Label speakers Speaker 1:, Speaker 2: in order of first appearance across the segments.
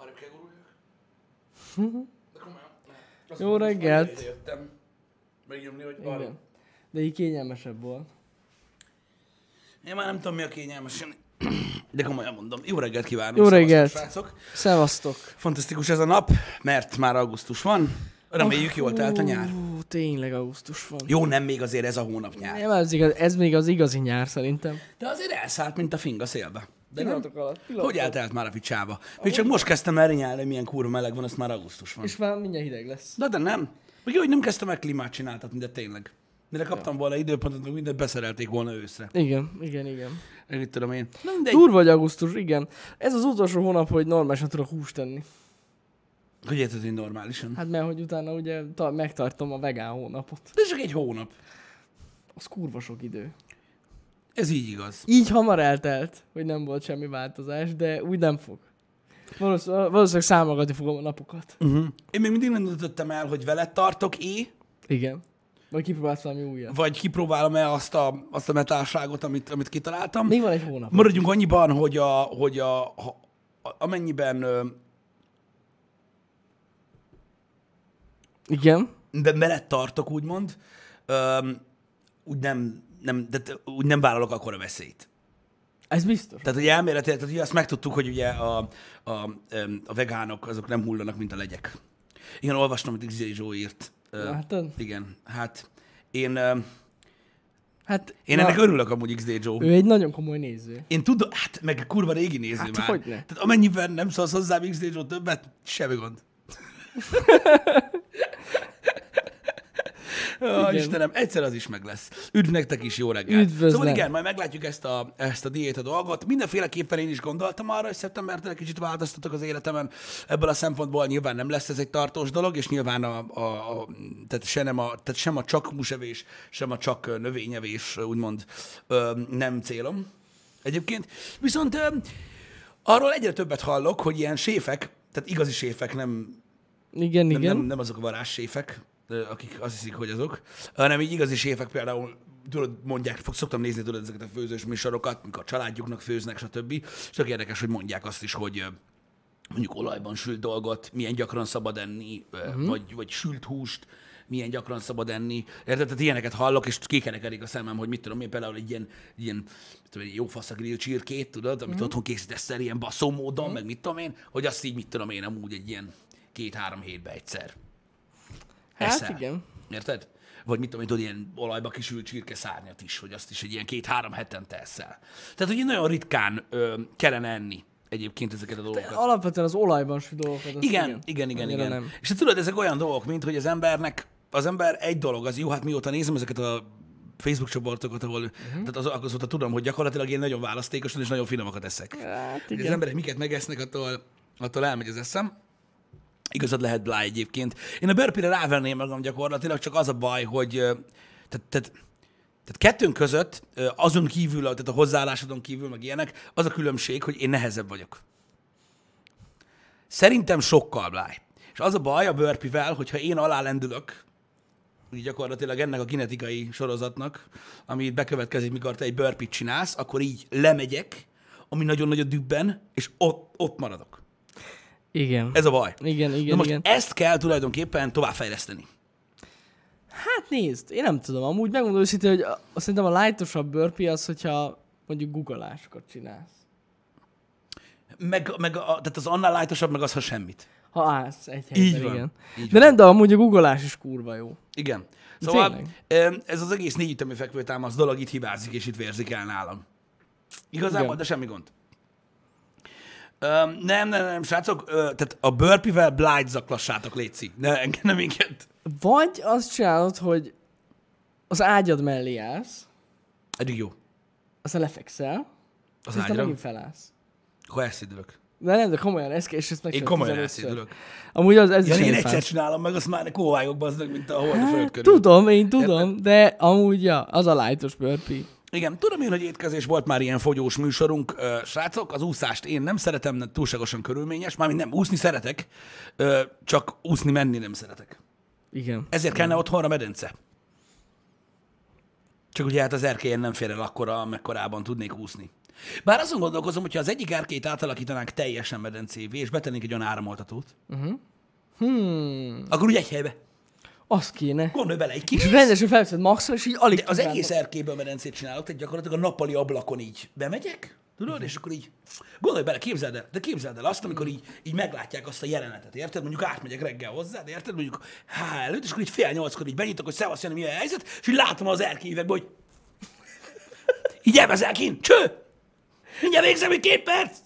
Speaker 1: arrébb kell guruljak. De komolyan. Azt
Speaker 2: Jó
Speaker 1: mondom, hogy
Speaker 2: reggelt.
Speaker 1: ide Jöttem. Megnyomni, hogy arrébb.
Speaker 2: Igen. De így kényelmesebb volt.
Speaker 1: Én már nem tudom, mi a kényelmes. De komolyan mondom. Jó reggelt kívánok.
Speaker 2: Jó
Speaker 1: szevasztok,
Speaker 2: reggelt.
Speaker 1: Srácok.
Speaker 2: Szevasztok!
Speaker 1: Fantasztikus ez a nap, mert már augusztus van. Reméljük, jól telt a nyár.
Speaker 2: Ú, tényleg augusztus van.
Speaker 1: Jó, nem még azért ez a hónap nyár.
Speaker 2: Nem, ez, igaz, ez még az igazi nyár szerintem.
Speaker 1: De azért elszállt, mint a fing a szélbe. De nem?
Speaker 2: Pillanatok alatt. Pillanatok.
Speaker 1: Hogy eltelt már a picsába? Még csak most kezdtem el rinyálni, milyen kurva meleg van, azt már augusztus van.
Speaker 2: És már mindjárt hideg lesz.
Speaker 1: De de nem. Még jó, hogy nem kezdtem el klímát csináltatni, de tényleg. Mire kaptam volna időpontot, meg mindent beszerelték volna őszre.
Speaker 2: Igen, igen, igen.
Speaker 1: Én mit tudom én. Na mindegy.
Speaker 2: Durva vagy augusztus, igen. Ez az utolsó hónap, hogy normálisan tudok húst tenni.
Speaker 1: Hogy érted, hogy normálisan?
Speaker 2: Hát mert hogy utána ugye ta- megtartom a vegán hónapot.
Speaker 1: De csak egy hónap.
Speaker 2: Az kurva sok idő.
Speaker 1: Ez így igaz.
Speaker 2: Így hamar eltelt, hogy nem volt semmi változás, de úgy nem fog. Valószínűleg, valószínűleg számolgatni fogom a napokat.
Speaker 1: Uh-huh. Én még mindig nem döntöttem el, hogy veled tartok é,
Speaker 2: Igen. Vagy kipróbálsz valami újat.
Speaker 1: vagy kipróbálom-e azt a, azt a metálságot, amit, amit kitaláltam.
Speaker 2: Még van egy hónap.
Speaker 1: Maradjunk annyiban, hogy a, hogy a, ha, a amennyiben ö,
Speaker 2: Igen.
Speaker 1: be, mellett tartok, úgmond, öm, úgy nem, nem, de, úgy nem vállalok akkor a veszélyt.
Speaker 2: Ez biztos.
Speaker 1: Tehát, hogy elméletileg, tehát ugye azt megtudtuk, hogy ugye a, a, öm, a vegánok azok nem hullanak, mint a legyek. Igen, olvastam, amit Izé Zsó írt. Ö,
Speaker 2: Látod?
Speaker 1: Igen, hát én, öm,
Speaker 2: Hát,
Speaker 1: én
Speaker 2: na,
Speaker 1: ennek örülök amúgy Izé Zsó.
Speaker 2: Ő egy nagyon komoly néző.
Speaker 1: Én tudom, hát meg kurva régi néző
Speaker 2: Hát,
Speaker 1: már.
Speaker 2: hogyne.
Speaker 1: Tehát amennyiben nem szólsz hozzá Xd Zsó többet, semmi gond. Ó,
Speaker 2: Igen.
Speaker 1: Istenem, egyszer az is meg lesz. Üdv nektek is, jó reggelt.
Speaker 2: Üdvözlem.
Speaker 1: Szóval igen, majd meglátjuk ezt a, ezt a diéta dolgot. Mindenféleképpen én is gondoltam arra, hogy szeptembertől egy kicsit változtatok az életemen. Ebből a szempontból nyilván nem lesz ez egy tartós dolog, és nyilván a, a, a, tehát se nem a, tehát sem a csak húsevés, sem a csak ö, növényevés, ö, úgmond ö, nem célom egyébként. Viszont ö, arról egyre többet hallok, hogy ilyen séfek, tehát igazi séfek, nem
Speaker 2: Igen,
Speaker 1: nem,
Speaker 2: igen.
Speaker 1: nem, nem azok a varázsséfek, ö, akik azt hiszik, hogy azok, hanem így igazi séfek például, tudod, mondják, fog, szoktam nézni tudod ezeket a főzős műsorokat, mikor a családjuknak főznek, stb. És tök érdekes, hogy mondják azt is, hogy ö, mondjuk olajban sült dolgot, milyen gyakran szabad enni,
Speaker 2: Mhm.
Speaker 1: uh-huh. vagy, vagy sült húst, milyen gyakran szabad enni. Érted? Tehát ilyeneket hallok, és kikerekedik a szemem, hogy mit tudom én, például egy ilyen, egy ilyen mit tudom, én, jó fasz a grill csirkét, tudod,
Speaker 2: Mhm.
Speaker 1: amit uh-huh. otthon készítesz el ilyen baszó módon, uh-huh. meg mit tudom én, hogy azt így mit tudom én amúgy egy ilyen két-három hétbe egyszer.
Speaker 2: Hát
Speaker 1: eszel.
Speaker 2: igen.
Speaker 1: Érted? Vagy mit tudom, én, tudod, ilyen olajba kisült csirke szárnyat is, hogy azt is egy ilyen két-három hetente eszel. Tehát, hogy nagyon ritkán ö, kellene enni egyébként ezeket a dolgokat.
Speaker 2: Alapvetően az olajban sült dolgokat. azt
Speaker 1: Igen, igen, igen,
Speaker 2: Annyira
Speaker 1: igen.
Speaker 2: Nem.
Speaker 1: És te tudod, ezek olyan dolgok, mint hogy az embernek, az ember egy dolog, az jó, hát mióta nézem ezeket a Facebook csoportokat, ahol
Speaker 2: Mhm.
Speaker 1: uh-huh. tehát az, azóta tudom, hogy gyakorlatilag én nagyon választékosan és nagyon finomakat eszek.
Speaker 2: Hát
Speaker 1: Hogy az
Speaker 2: igen.
Speaker 1: emberek miket megesznek, attól, attól elmegy az eszem. Igazad lehet Blá egyébként. Én a burpee-re rávenném magam gyakorlatilag, csak az a baj, hogy ö, tehát, tehát, tehát kettőnk között, ö, azon kívül, a- tehát a hozzáállásodon kívül, meg ilyenek, az a különbség, hogy én nehezebb vagyok. Szerintem sokkal Bláj. És az a baj a burpee-vel, hogyha én alálendülök, így gyakorlatilag ennek a genetikai sorozatnak, ami itt bekövetkezik, mikor te egy burpee csinálsz, akkor így lemegyek, ami nagyon nagy a dübben, és ott, ott maradok.
Speaker 2: Igen.
Speaker 1: Ez a baj.
Speaker 2: Igen,
Speaker 1: Na
Speaker 2: igen,
Speaker 1: most
Speaker 2: igen.
Speaker 1: ezt kell tulajdonképpen továbbfejleszteni.
Speaker 2: Hát nézd, én nem tudom, amúgy megmondom őszintén, hogy a, szerintem a lightosabb burpee az, hogyha mondjuk guggolásokat csinálsz.
Speaker 1: Meg, meg a, tehát az annál lájtosabb, meg az, ha semmit.
Speaker 2: Ha állsz egy helyben,
Speaker 1: Így van.
Speaker 2: igen.
Speaker 1: Így
Speaker 2: de
Speaker 1: van.
Speaker 2: nem, de amúgy a guggolás is kurva jó.
Speaker 1: Igen. Szóval
Speaker 2: Tényleg.
Speaker 1: em, ez az egész négy ütemű fekvőtámasz dolog itt hibázik, és itt vérzik el nálam. Igazából,
Speaker 2: Igen.
Speaker 1: de semmi gond. Öm, nem, nem, nem, srácok, ö, tehát a burpee-vel blind zaklassátok, Léci. Ne, engem nem minket.
Speaker 2: Vagy azt csinálod, hogy az ágyad mellé állsz,
Speaker 1: Eddig jó.
Speaker 2: aztán lefekszel,
Speaker 1: Az
Speaker 2: aztán
Speaker 1: ágyra.
Speaker 2: megint felállsz.
Speaker 1: Akkor elszédülök.
Speaker 2: De nem, de komolyan, ez, és ezt meg
Speaker 1: Én
Speaker 2: kell
Speaker 1: komolyan
Speaker 2: 15-ször.
Speaker 1: elszédülök.
Speaker 2: Amúgy az, ez
Speaker 1: Ja,
Speaker 2: is
Speaker 1: én
Speaker 2: elfáradt.
Speaker 1: egyszer csinálom meg, azt már kóvályok bazdnak, mint a holna föld
Speaker 2: Hát,
Speaker 1: körül.
Speaker 2: tudom, én tudom, de amúgy ja, az a lightos burpee.
Speaker 1: Igen, tudom én, hogy étkezés volt már ilyen fogyós műsorunk, ö, srácok, az úszást én nem szeretem, nem túlságosan körülményes, mármint nem, úszni szeretek, ö, csak úszni menni nem szeretek.
Speaker 2: Igen.
Speaker 1: Ezért kellene otthonra medence. Csak ugye hát az erkélyen nem fér el akkora, amekkorában tudnék úszni. Bár azon gondolkozom, hogyha az egyik árkét átalakítanánk teljesen medencévé, és betennénk egy olyan áramoltatót,
Speaker 2: Mhm. Hmm,
Speaker 1: akkor úgy egy helybe.
Speaker 2: az kéne.
Speaker 1: Gondolj bele egy
Speaker 2: És
Speaker 1: kicsit.
Speaker 2: rendesen felveszed maxra, és így alig
Speaker 1: De az
Speaker 2: tudnád.
Speaker 1: egész erkéből medencét csinálok, tehát gyakorlatilag a nappali ablakon így bemegyek, tudod,
Speaker 2: Mhm.
Speaker 1: és akkor így gondolj bele, képzeld el, de képzeld el azt, amikor így, így meglátják azt a jelenetet, érted? Mondjuk átmegyek reggel hozzá, de érted? Mondjuk há előtt, és akkor így fél nyolckor így benyitok, hogy szevasz, Jani, mi a helyzet, és így látom az erkélyüvegben, hogy így elvezel kint, cső! Mindjárt végzem, hogy két perc!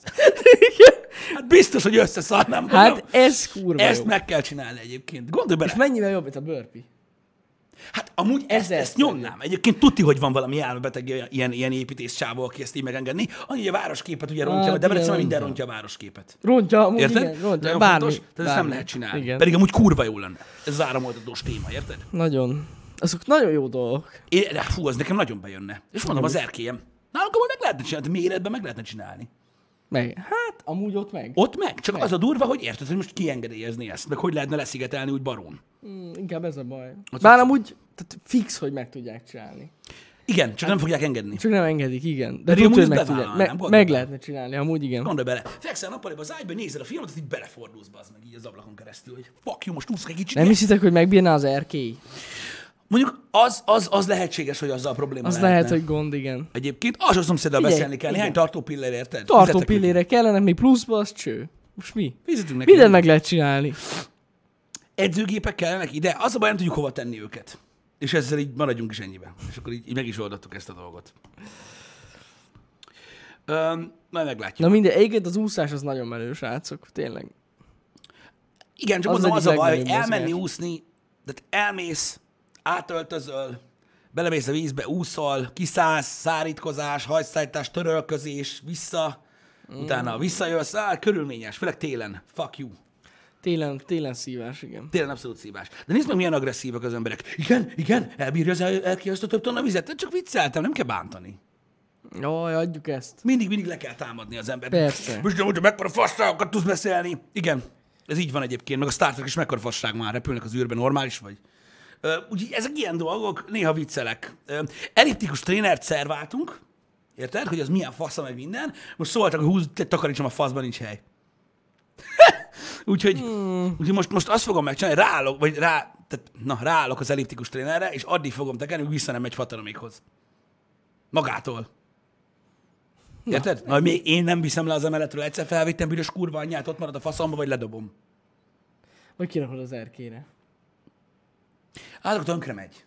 Speaker 1: Hát biztos, hogy összeszarnám.
Speaker 2: Hát
Speaker 1: gondolom.
Speaker 2: ez kurva
Speaker 1: ezt
Speaker 2: jó.
Speaker 1: meg kell csinálni egyébként. Gondolj bele.
Speaker 2: És mennyivel jobb, mint a burpee?
Speaker 1: Hát amúgy ezt,
Speaker 2: Ezer
Speaker 1: ezt nyomnám. Egyébként tudti, hogy van valami elmebeteg ilyen- ilyen, ilyen építész csávó, aki ezt így megengedni. Annyi, hogy a városképet ugye rontja,
Speaker 2: Hát
Speaker 1: hát, de Debrecen
Speaker 2: igen,
Speaker 1: minden
Speaker 2: rontja.
Speaker 1: rontja a városképet.
Speaker 2: Rontja, amúgy
Speaker 1: Érted?
Speaker 2: igen, rontja,
Speaker 1: Nagyon
Speaker 2: bármi.
Speaker 1: fontos, tehát ezt
Speaker 2: bármi.
Speaker 1: nem lehet csinálni.
Speaker 2: Igen.
Speaker 1: Pedig amúgy kurva jó lenne. Ez az áramoltatós téma, érted?
Speaker 2: Nagyon. Azok nagyon jó dolgok.
Speaker 1: Én, de fú, az nekem nagyon bejönne. És mondom, az erkélyem. Nálunk amúgy meg lehetne csinálni, méretben meg lehetne csinálni.
Speaker 2: Meg. Hát, amúgy ott meg.
Speaker 1: Ott meg, csak az a durva, hogy érted, hogy most kiengedélyezni ezt, meg hogy lehetne leszigetelni úgy barón.
Speaker 2: Mm, inkább ez a baj. Bár amúgy tehát fix, hogy meg tudják csinálni.
Speaker 1: Igen,
Speaker 2: Hát-
Speaker 1: csak nem fogják engedni.
Speaker 2: Csak nem engedik, igen. De
Speaker 1: Pedig
Speaker 2: tudod,
Speaker 1: amúgy ezt
Speaker 2: hogy meg, tudják,
Speaker 1: bevállalnám,
Speaker 2: meg, meg
Speaker 1: gondolom.
Speaker 2: lehetne csinálni, amúgy igen.
Speaker 1: Gondolj bele, fekszel nappaliba az ágyba, nézel a filmet, így belefordulsz, bazd meg így az ablakon keresztül, hogy fuck you, most úszk egy kicsit.
Speaker 2: Nem hiszitek, hogy megbírná az erkély?
Speaker 1: Mondjuk az, az, az lehetséges, hogy azzal probléma
Speaker 2: Az
Speaker 1: lehetne.
Speaker 2: lehet, hogy gond, igen.
Speaker 1: Egyébként az a szomszéddal
Speaker 2: Figyelj,
Speaker 1: beszélni kell, néhány tartó pillér, érted?
Speaker 2: Tartó
Speaker 1: Fizetek neki.
Speaker 2: pillére kellene, még pluszba, az cső. Most mi?
Speaker 1: Fizetünk neki.
Speaker 2: Mindent meg lehet csinálni.
Speaker 1: Edzőgépek kellenek ide, az a baj, nem tudjuk hova tenni őket. És ezzel így maradjunk is ennyiben. És akkor így, így meg is oldottuk ezt a dolgot. Öm, majd meglátjuk.
Speaker 2: Na minden, egyébként az úszás az nagyon menő, srácok, tényleg.
Speaker 1: Igen, csak
Speaker 2: az
Speaker 1: mondom, az
Speaker 2: egyik
Speaker 1: a baj, hogy
Speaker 2: legnagyobb
Speaker 1: elmenni
Speaker 2: mozgás.
Speaker 1: úszni, tehát elmész, átöltözöl, belemész a vízbe, úszol, kiszállsz, szárítkozás, hajszállítás, törölközés, vissza, mm. utána visszajössz, á, körülményes, főleg télen, fuck you.
Speaker 2: Télen, télen szívás, igen.
Speaker 1: Télen abszolút szívás. De nézd meg, milyen agresszívek az emberek. Igen, igen, elbírja az el, elki azt a több tonna vizet. Csak vicceltem, nem kell bántani.
Speaker 2: Jaj, adjuk ezt.
Speaker 1: Mindig, mindig le kell támadni az embert.
Speaker 2: Persze.
Speaker 1: Most nem, hogyha mekkora fasságokat tudsz beszélni. Igen, ez így van egyébként, meg a Star Trek is mekkora fasság már, repülnek az űrben, normális vagy? Ö, Úgyhogy ezek ilyen dolgok, néha viccelek. Ö, Elliptikus trénert szerváltunk, érted, hogy az milyen faszom meg minden. Most szóltak, hogy húz, te takarítsam a faszban, nincs hely. úgyhogy, úgyhogy most, most azt fogom megcsinálni, ráállok, vagy rá, tehát, na, ráállok az elliptikus trénerre, és addig fogom tekerni, hogy vissza nem megy fatalomikhoz. Magától. Érted? Na, még én nem viszem le az emeletről, egyszer felvittem büdös kurva anyját, ott marad a faszomba, vagy ledobom.
Speaker 2: Vagy kirakod az erkére.
Speaker 1: Hát akkor tönkre megy.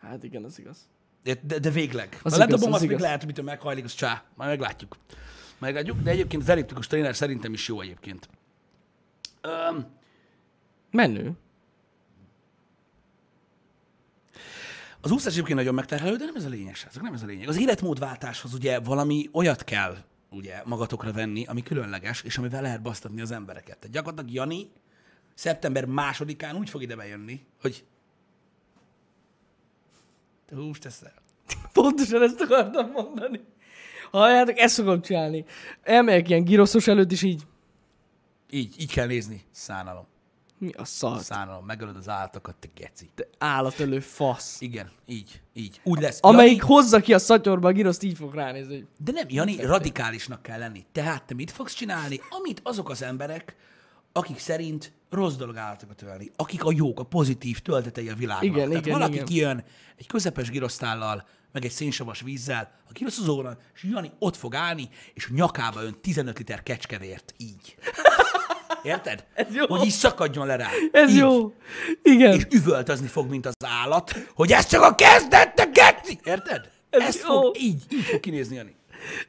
Speaker 2: Hát igen, az igaz.
Speaker 1: De, de, de végleg.
Speaker 2: Az
Speaker 1: ha
Speaker 2: igaz,
Speaker 1: ledobom,
Speaker 2: az
Speaker 1: az, még
Speaker 2: igaz.
Speaker 1: lehet, hogy mitől meghajlik, az csá. Majd meglátjuk. Meglátjuk, de egyébként az elliptikus tréner szerintem is jó egyébként. Öm,
Speaker 2: Menő.
Speaker 1: az úszás egyébként nagyon megterhelő, de nem ez a lényeg, srácok, nem ez a lényeg. Az életmódváltáshoz ugye valami olyat kell ugye magatokra venni, ami különleges, és amivel lehet basztatni az embereket. Tehát gyakorlatilag Jani szeptember másodikán úgy fog ide bejönni, hogy te húst eszel.
Speaker 2: Pontosan ezt akartam mondani. Halljátok, ezt szoktam csinálni. Elmegyek ilyen giroszos előtt, és így,
Speaker 1: Így, így kell nézni. Szánalom.
Speaker 2: mi a szar?
Speaker 1: Szánalom. Megölöd az állatokat, te geci.
Speaker 2: Te állatölő fasz.
Speaker 1: Igen, így, így. Úgy lesz.
Speaker 2: Amelyik
Speaker 1: Jani,
Speaker 2: hozza ki a szatyorba a giroszt, így fog ránézni, hogy
Speaker 1: de nem, Jani, radikálisnak kell lenni. Tehát te mit fogsz csinálni, amit azok az emberek, akik szerint rossz dolog állatokat ölni, akik a jók, a pozitív töltetei a világnak.
Speaker 2: Igen,
Speaker 1: Tehát
Speaker 2: igen,
Speaker 1: valaki
Speaker 2: igen.
Speaker 1: kijön egy közepes girosztállal, meg egy szénsavas vízzel, a giroszozóra, és Jani ott fog állni, és a nyakába ön 15 liter kecskevért, így. Érted? Ez
Speaker 2: jó.
Speaker 1: Hogy így szakadjon le rá.
Speaker 2: ez
Speaker 1: így.
Speaker 2: jó. Igen.
Speaker 1: és üvöltözni fog, mint az állat, hogy ez csak a kezdette, geci! Érted? Ez,
Speaker 2: Ez
Speaker 1: ez
Speaker 2: jó.
Speaker 1: fog, így, így fog kinézni, Jani.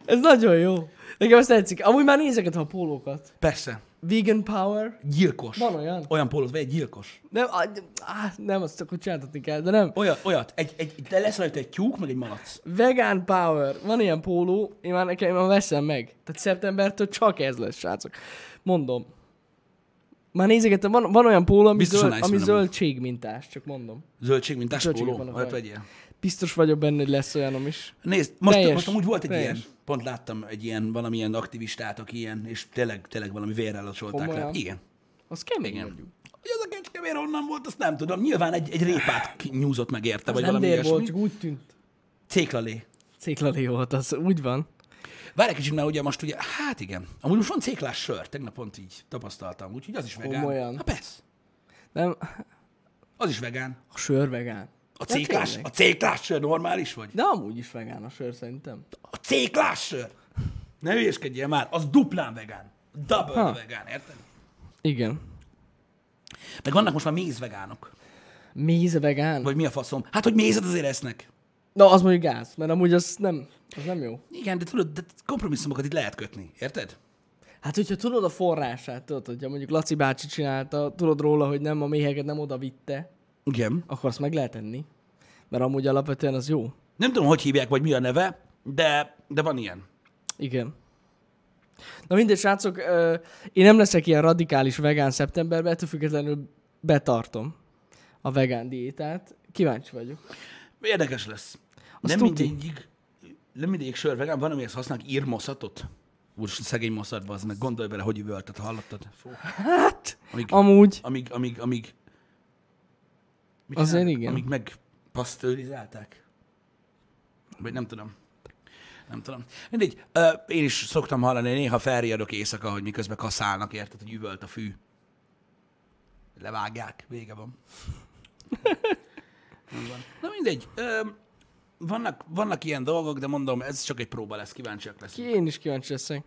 Speaker 2: Ez nagyon jó. Nekem ezt tetszik. Amúgy már nézeket a pólókat.
Speaker 1: Persze.
Speaker 2: Vegan power.
Speaker 1: Gyilkos.
Speaker 2: Van olyan?
Speaker 1: Olyan pólót, vagy egy gyilkos.
Speaker 2: Nem, á, á, nem, azt akkor csináltatni kell, de nem.
Speaker 1: Olyat, olyat. Egy, egy, de lesz rajta egy tyúk, meg egy malac.
Speaker 2: Vegan Power. Van ilyen póló, én már nekem én már veszem meg. Tehát szeptembertől csak ez lesz, srácok. Mondom. Már nézegettem, van, van olyan póló, ami,
Speaker 1: Biztosan
Speaker 2: zöld,
Speaker 1: nice
Speaker 2: ami
Speaker 1: van amúgy.
Speaker 2: zöldségmintás, csak mondom.
Speaker 1: Zöldség, mint
Speaker 2: Zöldségek
Speaker 1: póló.
Speaker 2: vannak
Speaker 1: Olyat
Speaker 2: rajta.
Speaker 1: vegyél.
Speaker 2: Biztos vagyok benne, hogy lesz olyanom is.
Speaker 1: Nézd, most,
Speaker 2: Teljes,
Speaker 1: most amúgy volt egy
Speaker 2: teljes.
Speaker 1: ilyen, pont láttam egy ilyen, valamilyen aktivistát, aki ilyen, és tényleg, tényleg valami vérrel locsolták le.
Speaker 2: Komolyan?
Speaker 1: Igen.
Speaker 2: Az kemény mondjuk.
Speaker 1: Hogy az a kecskevér honnan volt, azt nem tudom. Nyilván egy, egy répát nyúzott meg érte,
Speaker 2: Az
Speaker 1: vagy
Speaker 2: nem
Speaker 1: valami
Speaker 2: dér volt,
Speaker 1: ilyesmi.
Speaker 2: csak úgy tűnt.
Speaker 1: Céklalé.
Speaker 2: Céklalé volt az, úgy van.
Speaker 1: Várj egy kicsit, mert ugye most ugye, hát igen, amúgy most van céklás sör, tegnap pont így tapasztaltam, úgyhogy az is vegán.
Speaker 2: Komolyan?
Speaker 1: Na persze,
Speaker 2: Nem,
Speaker 1: az is vegán.
Speaker 2: a sör vegán.
Speaker 1: A
Speaker 2: Ja,
Speaker 1: céklás,
Speaker 2: Hát tényleg.
Speaker 1: a céklás sör normális vagy?
Speaker 2: De amúgy is vegán a sör szerintem.
Speaker 1: A céklás sör! Ne hülyeskedjél már, az duplán vegán. Double
Speaker 2: Ha.
Speaker 1: ha. vegán, érted?
Speaker 2: Igen.
Speaker 1: Meg vannak most már mézvegánok.
Speaker 2: Méz vegán?
Speaker 1: Vagy mi a faszom? Hát, hogy mézet azért esznek.
Speaker 2: Na, az mondjuk gáz, mert amúgy az nem, az nem jó.
Speaker 1: Igen, de tudod, de kompromisszumokat itt lehet kötni, érted?
Speaker 2: Hát, hogyha tudod a forrását, tudod, hogyha mondjuk Laci bácsi csinálta, tudod róla, hogy nem a méheket nem oda vitte,
Speaker 1: Igen.
Speaker 2: akkor azt meg lehet enni. Mert amúgy alapvetően az jó.
Speaker 1: Nem tudom, hogy hívják, vagy mi a neve, de, de van ilyen.
Speaker 2: Igen. Na mindegy, srácok, ö, én nem leszek ilyen radikális vegán szeptemberben, ettől függetlenül betartom a vegán diétát. Kíváncsi vagyok.
Speaker 1: Érdekes lesz.
Speaker 2: Azt
Speaker 1: nem
Speaker 2: tuti.
Speaker 1: mindegyik, nem mindegyik sör vegán, van, amihez használnak írmoszatot. Úristen, szegény moszat, az meg gondolj bele, hogy üvöltet, hallottad? Fú.
Speaker 2: Hát,
Speaker 1: Amíg,
Speaker 2: amúgy
Speaker 1: amíg, amíg, amíg mit
Speaker 2: Azért
Speaker 1: csinálnak?
Speaker 2: igen.
Speaker 1: Amíg megpasztőrizálták. Vagy nem tudom. Nem tudom. Mindegy, ö, én is szoktam hallani, néha felriadok éjszaka, hogy miközben kaszálnak, érted, hogy üvölt a fű. Levágják, vége van. Van. Na mindegy, ö, vannak, vannak ilyen dolgok, de mondom, ez csak egy próba lesz, kíváncsiak leszünk.
Speaker 2: én is kíváncsi leszek.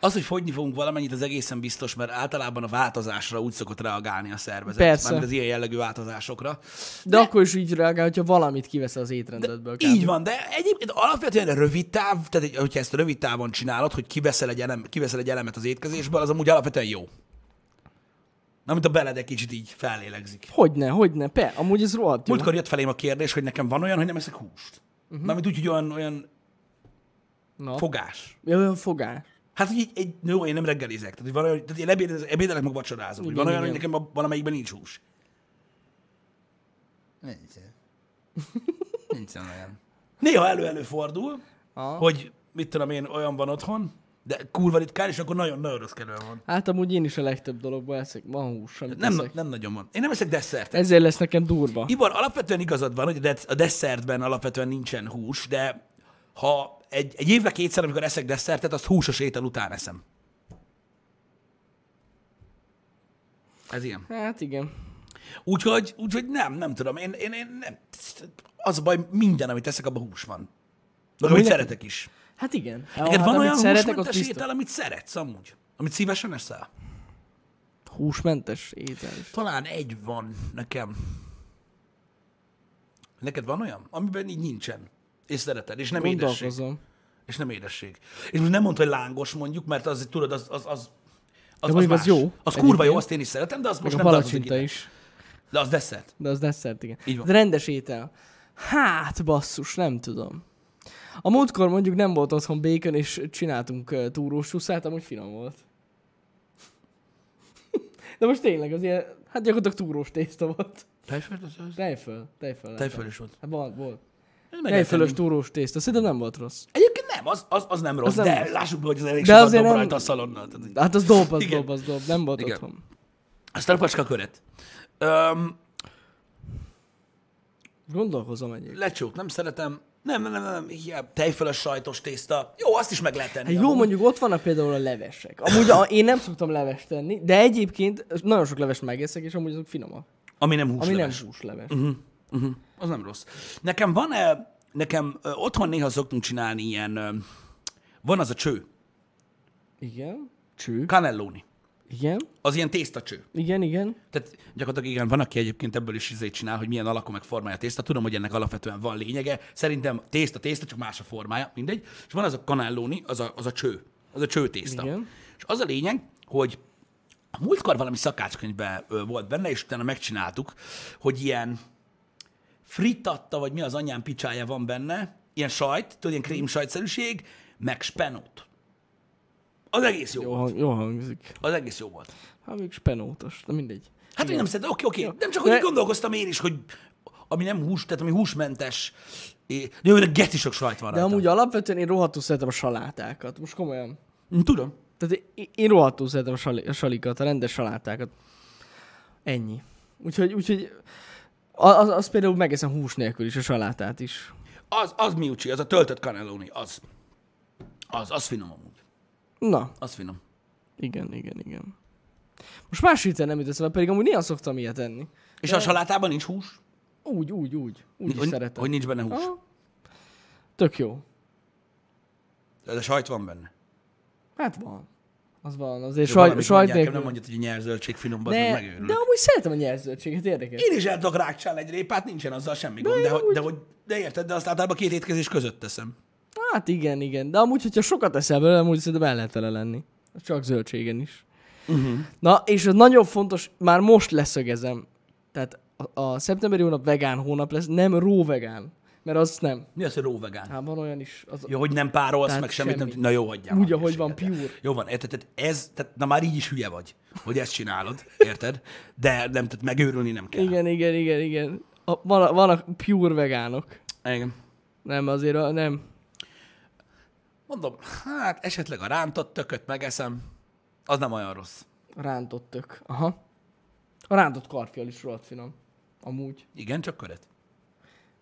Speaker 1: Az, hogy fogyni fogunk valamennyit, az egészen biztos, mert általában a változásra úgy szokott reagálni a szervezet.
Speaker 2: Persze.
Speaker 1: Mármint az ilyen jellegű változásokra.
Speaker 2: De, de akkor is így reagál, hogyha valamit kivesz az étrendedből. kb.
Speaker 1: Így van, de egyébként alapvetően a rövid táv, tehát egy- hogyha ezt a rövid távon csinálod, hogy kiveszel egy, elem, kiveszel egy elemet az étkezésből, az amúgy alapvetően jó. Na, mint a beled egy kicsit így fellélegzik.
Speaker 2: Hogyne, hogyne, pe, amúgy ez rohadt jó.
Speaker 1: Múltkor jött felém a kérdés, hogy nekem van olyan, hogy nem eszek húst. Uh-huh. Na, mint úgy, hogy olyan, olyan
Speaker 2: Na.
Speaker 1: fogás.
Speaker 2: Ja, olyan fogás.
Speaker 1: Hát, hogy így, egy, jó, én nem reggelizek. Tehát, hogy van olyan, tehát én ebédelek, ebédelek meg vacsorázom. hogy
Speaker 2: Igen,
Speaker 1: van olyan, hogy
Speaker 2: igen.
Speaker 1: nekem a- valamelyikben nincs hús.
Speaker 3: Nincs. Nincs olyan.
Speaker 1: Néha elő-előfordul,
Speaker 2: Aha.
Speaker 1: hogy mit tudom én, olyan van otthon, de kurva ritkán, és akkor nagyon-nagyon rossz kedvem van.
Speaker 2: Hát amúgy én is a legtöbb dologban eszek, van hús, amit nem,
Speaker 1: Nem,
Speaker 2: eszek.
Speaker 1: nem nagyon van. Én nem eszek desszertet.
Speaker 2: Ezért lesz nekem durva.
Speaker 1: Ibor, alapvetően igazad van, hogy a dec- a desszertben alapvetően nincsen hús, de ha egy, egy évre kétszer, amikor eszek desszertet, azt húsos étel után eszem. Ez ilyen.
Speaker 2: Hát igen.
Speaker 1: Úgyhogy, úgyhogy nem, nem tudom. Én, én, én nem. Az a baj, minden, amit eszek, abban hús van. Meg amit
Speaker 2: Aminek-
Speaker 1: szeretek is.
Speaker 2: Hát igen.
Speaker 1: Neked
Speaker 2: hát,
Speaker 1: van
Speaker 2: amit
Speaker 1: olyan
Speaker 2: az
Speaker 1: húsmentes
Speaker 2: biztos.
Speaker 1: étel, amit szeretsz amúgy? Amit szívesen eszel?
Speaker 2: Húsmentes étel is.
Speaker 1: Talán egy van nekem. Neked van olyan? Amiben így nincsen. És szereted, és nem édesség.
Speaker 2: Gondolkozom.
Speaker 1: És nem édesség. És most nem mondta, hogy lángos mondjuk, mert az, tudod, az, az, az az,
Speaker 2: mondjuk az
Speaker 1: más.
Speaker 2: jó.
Speaker 1: Az kurva jó,
Speaker 2: Egyébként.
Speaker 1: azt én is szeretem, de az most
Speaker 2: Meg a
Speaker 1: nem tartozik
Speaker 2: palacsinta
Speaker 1: ide.
Speaker 2: is.
Speaker 1: De az desszert.
Speaker 2: De az desszert, igen.
Speaker 1: Így van.
Speaker 2: De rendes étel. Hát basszus, nem tudom. A múltkor mondjuk nem volt otthon bacon, és csináltunk ö, túrós suszát, amúgy finom volt. De most tényleg az ilyen, hát gyakorlatilag túrós tészta volt.
Speaker 1: Tejföld az az?
Speaker 2: Tejföl, tejföl. lett.
Speaker 1: Tejföl is volt.
Speaker 2: Hát van, volt.
Speaker 1: Ez meg lehet
Speaker 2: Tejfölös
Speaker 1: enni.
Speaker 2: túrós tészta, szerintem nem volt rossz.
Speaker 1: Egyébként nem, az, az, az nem rossz,
Speaker 2: nem
Speaker 1: de
Speaker 2: rossz.
Speaker 1: lássuk be, hogy az elég
Speaker 2: De
Speaker 1: sokat
Speaker 2: azért
Speaker 1: dob
Speaker 2: nem-
Speaker 1: rajta a szalonnal. Tehát,
Speaker 2: Hát az dob, az
Speaker 1: Igen.
Speaker 2: dob, az dob, nem volt
Speaker 1: Igen.
Speaker 2: otthon.
Speaker 1: Aztán a pacska köret. Öm,
Speaker 2: Gondolkozom egyébként.
Speaker 1: lecsót nem szeretem. Nem, nem, nem, nem, hiába. Tejfölös sajtos tészta. Jó, azt is meg lehet tenni.
Speaker 2: Hát jó,
Speaker 1: amúgy.
Speaker 2: mondjuk ott vannak például a levesek. Amúgy a, én nem szoktam levest tenni, de egyébként nagyon sok leves megeszek, és amúgy azok finomak.
Speaker 1: Ami nem húsleves.
Speaker 2: Ami nem húsleves. Uh-huh.
Speaker 1: Uh-huh. Az nem rossz. Nekem van -e, nekem ö, otthon néha szoktunk csinálni ilyen, ö, van az a cső,
Speaker 2: Igen. Cső.
Speaker 1: cannelloni.
Speaker 2: Igen.
Speaker 1: Az ilyen tésztacső.
Speaker 2: Igen, igen.
Speaker 1: Tehát gyakorlatilag igen, van, aki egyébként ebből is izét csinál, hogy milyen alakú meg formája a tészta. Tudom, hogy ennek alapvetően van lényege. Szerintem tészta, tészta, csak más a formája, mindegy. És van az a kanellóni, az a, az a cső, az a cső tészta.
Speaker 2: Igen.
Speaker 1: És az a lényeg, hogy a múltkor valami szakácskönyvben ö, volt benne, és utána megcsináltuk, hogy ilyen frittatta, vagy mi az anyám picsája van benne, ilyen sajt, tudod, ilyen krém sajtszerűség, meg spenót. Az egész jó,
Speaker 2: Jó,
Speaker 1: volt.
Speaker 2: hang, jó hangzik.
Speaker 1: Az egész jó volt.
Speaker 2: Hát még spenótos, de mindegy.
Speaker 1: Hát én nem szeretem, oké, oké. Nem csak, hogy
Speaker 2: De-
Speaker 1: így gondolkoztam én is, hogy ami nem hús, tehát ami húsmentes. é- De jó, de geci sok sajt van
Speaker 2: De
Speaker 1: rajta.
Speaker 2: amúgy alapvetően én rohadtul szeretem a salátákat. Most komolyan.
Speaker 1: Mm, Tudom.
Speaker 2: Tehát én, én rohadtul szeretem a, sali, a salikat, a rendes salátákat. Ennyi. Úgyhogy, úgyhogy a- az, az például megeszem hús nélkül is, a salátát is.
Speaker 1: Az, az miucsi, az a töltött kanelóni, az. Az, az finom amúgy.
Speaker 2: Na,
Speaker 1: Az finom.
Speaker 2: igen, igen, igen. Most más hirtelen nem jut eszembe, pedig amúgy néha szoktam ilyet enni.
Speaker 1: És a salátában nincs hús?
Speaker 2: Úgy, úgy, úgy. Úgy is
Speaker 1: hogy,
Speaker 2: szeretem. Ah.
Speaker 1: Hogy nincs benne hús.
Speaker 2: Aha. Tök jó.
Speaker 1: De sajt van benne.
Speaker 2: Hát van. Az van, azért
Speaker 1: Jó,
Speaker 2: saj,
Speaker 1: valamit
Speaker 2: sajt
Speaker 1: mondják,
Speaker 2: nélkül.
Speaker 1: Nem mondjad, hogy a nyelzöldség finom, az
Speaker 2: de,
Speaker 1: megőrül.
Speaker 2: de amúgy szeretem a nyelződtséget, érdekes.
Speaker 1: Én is el tudok rákcsálni egy répát, nincsen azzal semmi gond, de, hogy, de, hogy, de érted, de azt általában két étkezés között teszem.
Speaker 2: Hát igen, igen. De amúgy, hogyha sokat eszel belőle, amúgy szerintem el lehet vele lenni. Csak zöldségen is.
Speaker 1: Mhm.
Speaker 2: Uh-huh. Na, és az nagyon fontos, már most leszögezem. Tehát a, a szeptemberi hónap vegán hónap lesz, nem ró vegán. Mert az nem.
Speaker 1: Mi az, hogy róvegán?
Speaker 2: Hát van olyan is. Az,
Speaker 1: Jó, hogy nem párolsz,
Speaker 2: Tehát
Speaker 1: meg semmit
Speaker 2: semmi.
Speaker 1: nem... Na jó, hagyjál.
Speaker 2: Úgy,
Speaker 1: már
Speaker 2: ahogy van,
Speaker 1: hülyeséget.
Speaker 2: pure.
Speaker 1: Jó van, érted? Tehát ez, tehát, na már így is hülye vagy, hogy ezt csinálod, érted? De nem, tehát megőrülni nem kell.
Speaker 2: igen, igen, igen, igen. A, van, a, van a pure vegánok.
Speaker 1: Igen.
Speaker 2: Nem, azért a, nem.
Speaker 1: Mondom, hát esetleg a rántott tököt megeszem, az nem olyan rossz.
Speaker 2: Rántott tök. Aha. A rántott karfiol is rohadt finom. Amúgy.
Speaker 1: Igen, csak köret.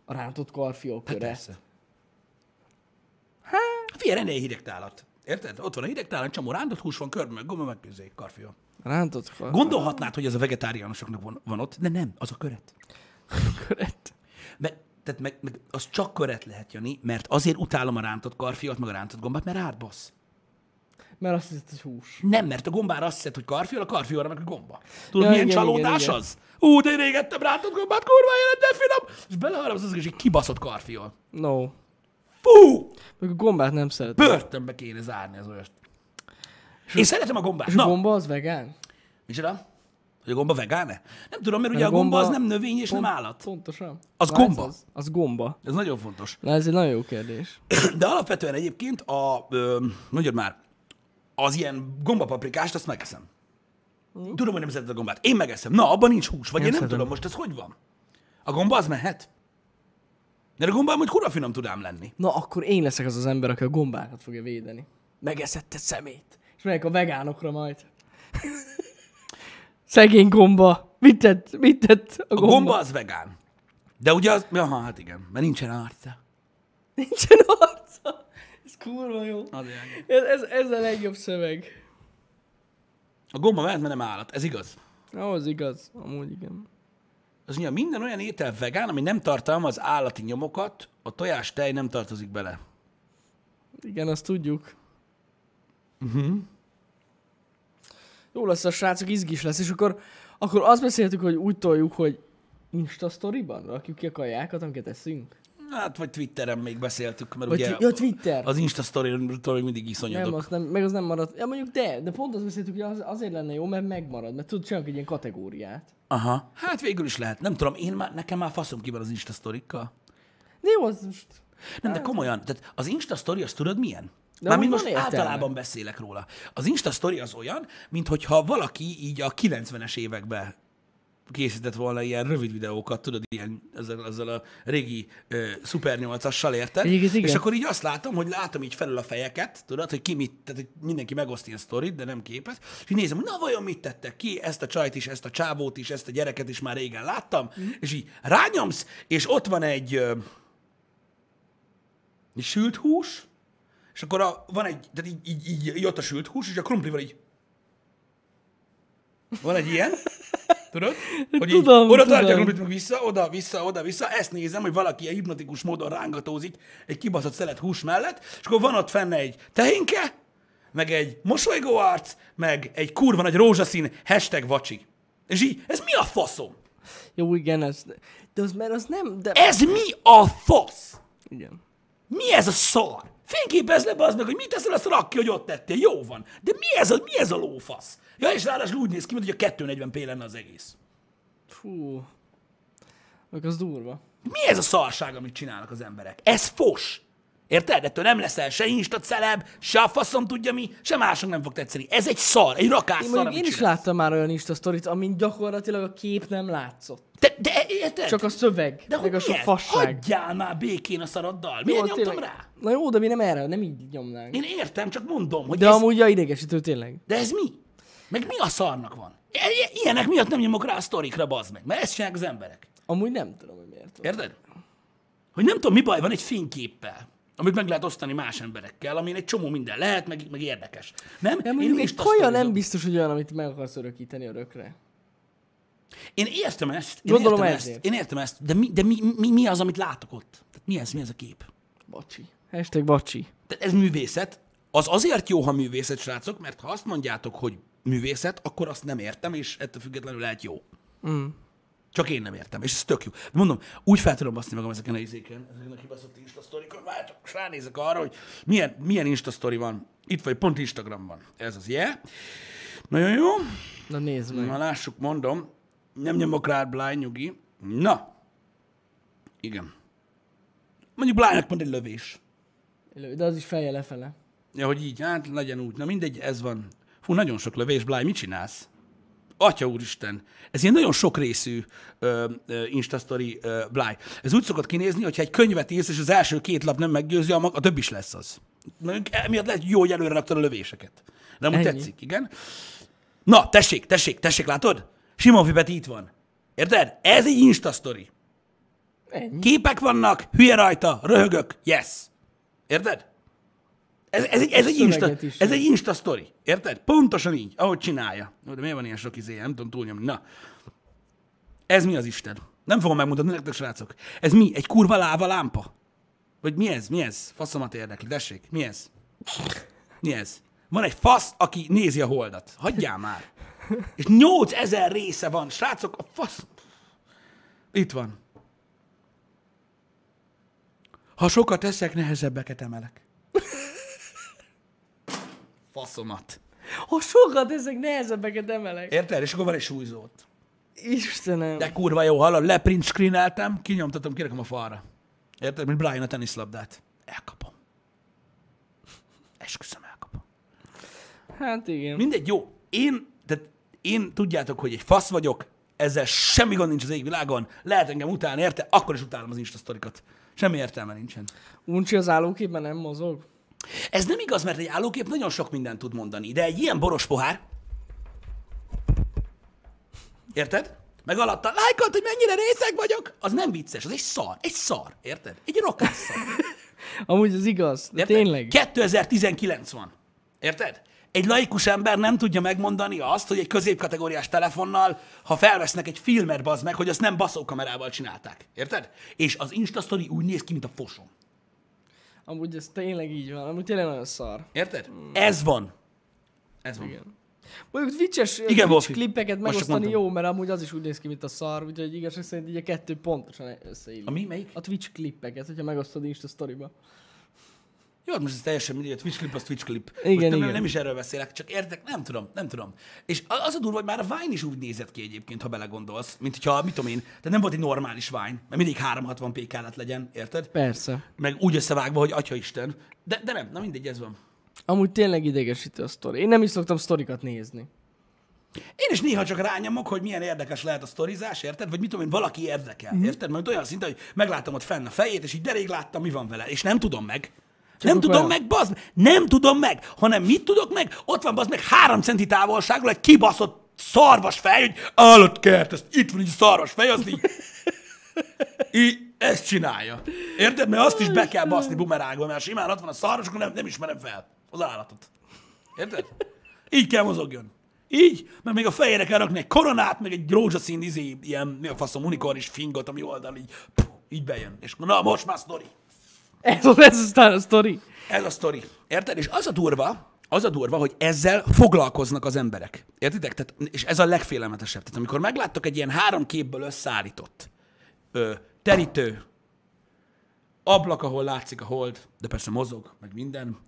Speaker 2: A rántott karfiol
Speaker 1: Hát
Speaker 2: köre.
Speaker 1: persze. Hát, Figyelj, rendelj hidegtálat. Érted? Ott van a hidegtálat, csomó rándott hús van, körbe, meg gomba, meg közé, karfiol.
Speaker 2: rántott karfiol.
Speaker 1: Gondolhatnád, hogy ez a vegetáriánusoknak van, van ott, de nem, az a köret.
Speaker 2: Köret.
Speaker 1: Meg, tehát meg, meg, az csak köret lehet, Jani, mert azért utálom a rántott karfiot, meg a rántott gombát, mert átbasz.
Speaker 2: Mert azt hiszed, hogy hús.
Speaker 1: Nem, mert a gombára azt hiszed, hogy karfiol, a karfióra meg a gomba. Tudod,
Speaker 2: Ja,
Speaker 1: ja, milyen
Speaker 2: igen,
Speaker 1: igen, csalódás
Speaker 2: igen,
Speaker 1: igen,
Speaker 2: igen.
Speaker 1: az? Ú, de én régettem rántott gombát, kurva élet, de finom! És beleharapsz az, hogy kibaszott karfiol.
Speaker 2: No.
Speaker 1: Fú!
Speaker 2: Meg a gombát nem szeretem.
Speaker 1: Börtönbe kéne zárni az olyat. Én szeretem a gombát.
Speaker 2: És a
Speaker 1: Na,
Speaker 2: gomba az vegán?
Speaker 1: Micsoda? Hogy a gomba vegán-e? Nem tudom, mert ugye
Speaker 2: a
Speaker 1: a gomba,
Speaker 2: gomba
Speaker 1: az nem növény és nem állat.
Speaker 2: Pontosan.
Speaker 1: Az
Speaker 2: Na, ez
Speaker 1: gomba.
Speaker 2: Az, az gomba.
Speaker 1: Ez nagyon fontos.
Speaker 2: Na ez egy nagyon jó kérdés.
Speaker 1: De alapvetően egyébként a, ö, mondjad már, az ilyen gombapaprikást, azt megeszem. Tudom, hogy nem szereted a gombát. Én megeszem. Na, abban nincs hús. Vagy
Speaker 2: Én
Speaker 1: én, nem
Speaker 2: szeretem.
Speaker 1: tudom, most ez hogy van? A gomba az mehet? Mert a gomba amúgy kurva finom tudám lenni.
Speaker 2: Na akkor én leszek az az ember, aki a gombákat fogja védeni. Megeszette szemét. És megyek a vegánokra majd. Szegény gomba. Mit tett? Mit tett
Speaker 1: A
Speaker 2: a gomba?
Speaker 1: gomba az vegán. De ugye az... Jaha, hát igen. Mert nincsen arca.
Speaker 2: Nincsen arca. Ez kurva jó.
Speaker 1: Azért.
Speaker 2: Ez, ez, ez a legjobb szöveg.
Speaker 1: A gomba mehet, mert nem állat. Ez igaz.
Speaker 2: Na, az igaz. Amúgy igen.
Speaker 1: Az mondja, minden olyan étel vegán, ami nem tartalmaz állati nyomokat, a tojás tej nem tartozik bele.
Speaker 2: Igen, azt tudjuk. Uh-huh. Jó lesz a srácok, izgis lesz, és akkor, akkor azt beszéltük, hogy úgy toljuk, hogy Insta sztoriban rakjuk ki a kajákat, amiket eszünk.
Speaker 1: Hát, vagy Twitteren még beszéltük, mert
Speaker 2: Vagy
Speaker 1: ugye
Speaker 2: twi- ja, Twitter.
Speaker 1: az Insta story-ról még mindig
Speaker 2: nem,
Speaker 1: iszonyodok.
Speaker 2: az nem, meg az nem marad. Ja, mondjuk de, de pont azt beszéltük, hogy az, azért lenne jó, mert megmarad, mert tudod, csinálunk egy ilyen kategóriát.
Speaker 1: Aha. Hát végül is lehet. Nem tudom, én már, nekem már faszom ki van az Insta sztorikkal.
Speaker 2: De jó, az most...
Speaker 1: Nem, de komolyan. Tehát az Insta story az tudod milyen?
Speaker 2: De
Speaker 1: Mármint
Speaker 2: amúgy
Speaker 1: most
Speaker 2: van értelme.
Speaker 1: általában beszélek róla. Az Insta story az olyan, mintha valaki így a 90-es években készített volna ilyen rövid videókat, tudod, ilyen ezzel, ezzel a régi ö, Super 8-assal, érted?
Speaker 2: Egyébként igen.
Speaker 1: És akkor így azt látom, hogy látom így felül a fejeket, tudod, hogy ki mit, tehát hogy mindenki megoszt ilyen sztorit, de nem képet, és így nézem, hogy na vajon mit tettek ki, ezt a csajt is, ezt a csávót is, ezt a gyereket is már régen láttam,
Speaker 2: Mhm.
Speaker 1: mm. és így rányomsz, és ott van egy ö, egy sült hús, és akkor a, van egy, tehát így, így, így, így ott a sült hús, és a krumplival így van egy ilyen, tudod? Hogy
Speaker 2: Tudom,
Speaker 1: így, oda
Speaker 2: tudom.
Speaker 1: tartja a krumplit, meg vissza, oda, vissza, oda, vissza. Ezt nézem, hogy valaki ilyen hipnotikus módon rángatózik egy kibaszott szelet hús mellett, és akkor van ott fenne egy tehinke, meg egy mosolygó arc, meg egy kurva nagy rózsaszín hashtag vacsi. És így, ez mi a faszom?
Speaker 2: Jó, igen, ez... De az, mert az nem, de...
Speaker 1: Ez mi a fasz?
Speaker 2: Igen.
Speaker 1: Mi ez a szar? Fényképezd le az meg, hogy mit teszel, azt rak ki, hogy ott tettél. Jó van. De mi ez a, mi ez a lófasz? Ja, és ráadásul úgy néz ki, mint hogy a 240p lenne az egész.
Speaker 2: Fú. Meg az durva.
Speaker 1: Mi ez a szarság, amit csinálnak az emberek? Ez fos. Érted? Ettől nem leszel se insta celeb, se a faszom tudja mi, se másnak nem fog tetszeni. Ez egy szar, egy rakás
Speaker 2: Én,
Speaker 1: szar,
Speaker 2: mondjuk
Speaker 1: amit
Speaker 2: én is
Speaker 1: csinálsz.
Speaker 2: láttam már olyan Insta sztorit, amin gyakorlatilag a kép nem látszott.
Speaker 1: De, de érted?
Speaker 2: Csak a szöveg,
Speaker 1: Hát, de
Speaker 2: de meg
Speaker 1: hogy
Speaker 2: a sok
Speaker 1: miért?
Speaker 2: fasság.
Speaker 1: Hagyjál már békén a szaraddal. Miért
Speaker 2: Jó,
Speaker 1: nyomtam
Speaker 2: tényleg.
Speaker 1: rá?
Speaker 2: Na jó, de mi nem erre, nem így nyomnánk.
Speaker 1: Én értem, csak mondom, hogy
Speaker 2: De
Speaker 1: ez,
Speaker 2: amúgy a idegesítő tényleg.
Speaker 1: de ez mi? Meg mi a szarnak van? I- i- Ilyenek miatt nem nyomok rá a sztorikra, bazd meg, mert ezt csinálják az emberek.
Speaker 2: Amúgy nem tudom, hogy miért. van.
Speaker 1: Érted? Hogy nem tudom, mi baj van egy fényképpel. amit meg lehet osztani más emberekkel, amin egy csomó minden lehet, meg, meg érdekes. Nem?
Speaker 2: De
Speaker 1: Én
Speaker 2: mondjuk egy
Speaker 1: lista
Speaker 2: kaja nem
Speaker 1: sztorizom.
Speaker 2: biztos, hogy olyan, amit meg akarsz örökíteni örökre.
Speaker 1: Én értem ezt. Én
Speaker 2: Gondolom
Speaker 1: értem
Speaker 2: ezért.
Speaker 1: ezt. Én értem ezt. De mi, de mi, mi, mi az, amit látok ott? Tehát mi ez, mi ez a kép?
Speaker 2: Bacsi. Hashtag bacsi.
Speaker 1: Tehát ez művészet. Az azért jó, ha művészet, srácok, mert ha azt mondjátok, hogy művészet, akkor azt nem értem, és ettől függetlenül lehet jó.
Speaker 2: Mm.
Speaker 1: Csak én nem értem, és ez tök jó. De Mondom, úgy fel tudom baszni magam ezeken a izéken, ezeken a kibaszott Insta sztorikon, már csak most ránézek arra, hogy milyen, milyen Insta sztori van. Itt vagy, pont Instagram van. Ez az, yeah. Nagyon jó.
Speaker 2: Na nézd meg.
Speaker 1: Na lássuk, mondom. Nem nyomok rád blind, nyugi. Na. Igen. Mondjuk blindnak pont egy lövés.
Speaker 2: Lő, De az is feje lefele.
Speaker 1: Ja, hogy így, hát legyen úgy. Na mindegy, ez van. Fú, nagyon sok lövés, Bláj, mit csinálsz? Atya úristen, ez ilyen nagyon sok részű ö, ö, instastory ö, Bláj. Ez úgy szokott kinézni, hogyha egy könyvet írsz, és az első két lap nem meggyőzi, a, mag, a több is lesz az. Mondjuk Emiatt lehet jó, hogy előre raktad a lövéseket. De amúgy
Speaker 2: Ennyi.
Speaker 1: tetszik, igen. Na, tessék, tessék, tessék, látod? Simon Fibet itt van. Érted? Ez egy instastory.
Speaker 2: Ennyi.
Speaker 1: Képek vannak, hülye rajta, röhögök, yes. Érted? Ez, ez, egy, ez, egy, insta,
Speaker 2: Szöveget is.
Speaker 1: ez egy insta story. Érted? Pontosan így, ahogy csinálja. Ó, De miért van ilyen sok izé? Nem tudom túlnyomni. Na. Ez mi az Isten? Nem fogom megmutatni nektek, srácok. Ez mi? Egy kurva láva lámpa? Vagy mi ez? Mi ez? Faszomat érdekli. Tessék, mi ez? Mi ez? Van egy fasz, aki nézi a holdat. Hagyjál már. És 8000 része van. Srácok, a fasz... Itt van. Ha sokat eszek, nehezebbeket emelek. Faszomat.
Speaker 2: Ha sokat ezek nehezebbeket emelek.
Speaker 1: Érted? És akkor van egy súlyzó ott.
Speaker 2: Istenem.
Speaker 1: De kurva jó, hallod, leprint screeneltem, kinyomtatom, kirakom a falra. Érted? Mint Brian a teniszlabdát. Elkapom. Esküszöm, elkapom.
Speaker 2: Hát igen.
Speaker 1: Mindegy, jó. Én, tehát én tudjátok, hogy egy fasz vagyok, ezzel semmi gond nincs az égvilágon, lehet engem után érte, akkor is utálom az Insta sztorikat. Semmi értelme nincsen.
Speaker 2: Uncsi az állóképben nem mozog.
Speaker 1: Ez nem igaz, mert egy állókép nagyon sok mindent tud mondani, de egy ilyen boros pohár... Érted? Meg alatta lájkolt, hogy mennyire részeg vagyok, az nem vicces, az egy szar, egy szar, érted? Egy rokás szar.
Speaker 2: Amúgy az igaz. De
Speaker 1: Érted?
Speaker 2: tényleg.
Speaker 1: 2019 van. Érted? Egy laikus ember nem tudja megmondani azt, hogy egy középkategóriás telefonnal, ha felvesznek egy filmet, bazd meg, hogy azt nem baszókamerával csinálták. Érted? És az Insta story úgy néz ki, mint a fosom.
Speaker 2: Amúgy ez tényleg így van. Amúgy tényleg nagyon szar.
Speaker 1: Érted? Ez van. Ez van.
Speaker 2: Igen. Mondjuk vicces
Speaker 1: Igen,
Speaker 2: vicc
Speaker 1: Wolfi.
Speaker 2: klippeket
Speaker 1: Most csak
Speaker 2: megosztani
Speaker 1: mondtam.
Speaker 2: jó, mert amúgy az is úgy néz ki, mint a szar, úgyhogy igazság szerint így a kettő pontosan összeillik.
Speaker 1: A mi? Melyik?
Speaker 2: A Twitch klippeket, hogyha megosztod Insta sztoriba.
Speaker 1: Jó, hát most ez teljesen mindegy, a Twitch clip az Twitch clip.
Speaker 2: Igen,
Speaker 1: most nem,
Speaker 2: igen.
Speaker 1: nem, is erről beszélek, csak értek, nem tudom, nem tudom. És a- az a durva, hogy már a Vine is úgy nézett ki egyébként, ha belegondolsz, mint hogyha, mit tudom én, tehát nem volt egy normális Vine, mert mindig 360p kellett legyen, érted?
Speaker 2: Persze.
Speaker 1: Meg úgy összevágva, hogy atya Isten. De, de nem, na mindegy, ez van.
Speaker 2: Amúgy tényleg idegesítő a sztori. Én nem is szoktam sztorikat nézni.
Speaker 1: Én is néha csak rányomok, hogy milyen érdekes lehet a sztorizás, érted? Vagy mit tudom én, valaki érdekel, mm-hmm. érted? Mert olyan szinte, hogy meglátom ott fenn a fejét, és így derék láttam, mi van vele, és nem tudom meg. Csak nem
Speaker 2: ott
Speaker 1: tudom
Speaker 2: van.
Speaker 1: meg, bazd meg, nem tudom meg, hanem mit tudok meg? Ott van bazd meg három centi távolságról egy kibaszott szarvas fej, hogy állatkert, ez itt van egy szarvas fej, az így, így ezt csinálja. Érted? Mert azt is be kell baszni bumerágba, mert simán ott van a szarvas, akkor nem, nem ismerem fel az állatot. Érted? Így kell mozogjon. Így, mert még a fejére kell rakni egy koronát, meg egy rózsaszín izé, ilyen, mi a faszom, unikorn és fingot, ami oldal így, puh, így bejön. És na, most már sztori.
Speaker 2: Ez, ez aztán a sztori.
Speaker 1: Ez a sztori. Érted? És az a durva, az a durva, hogy ezzel foglalkoznak az emberek. Értitek? Tehát, és ez a legfélelmetesebb. Tehát amikor megláttok egy ilyen három képből összeállított ö, terítő, ablak, ahol látszik a hold, de persze mozog, meg minden,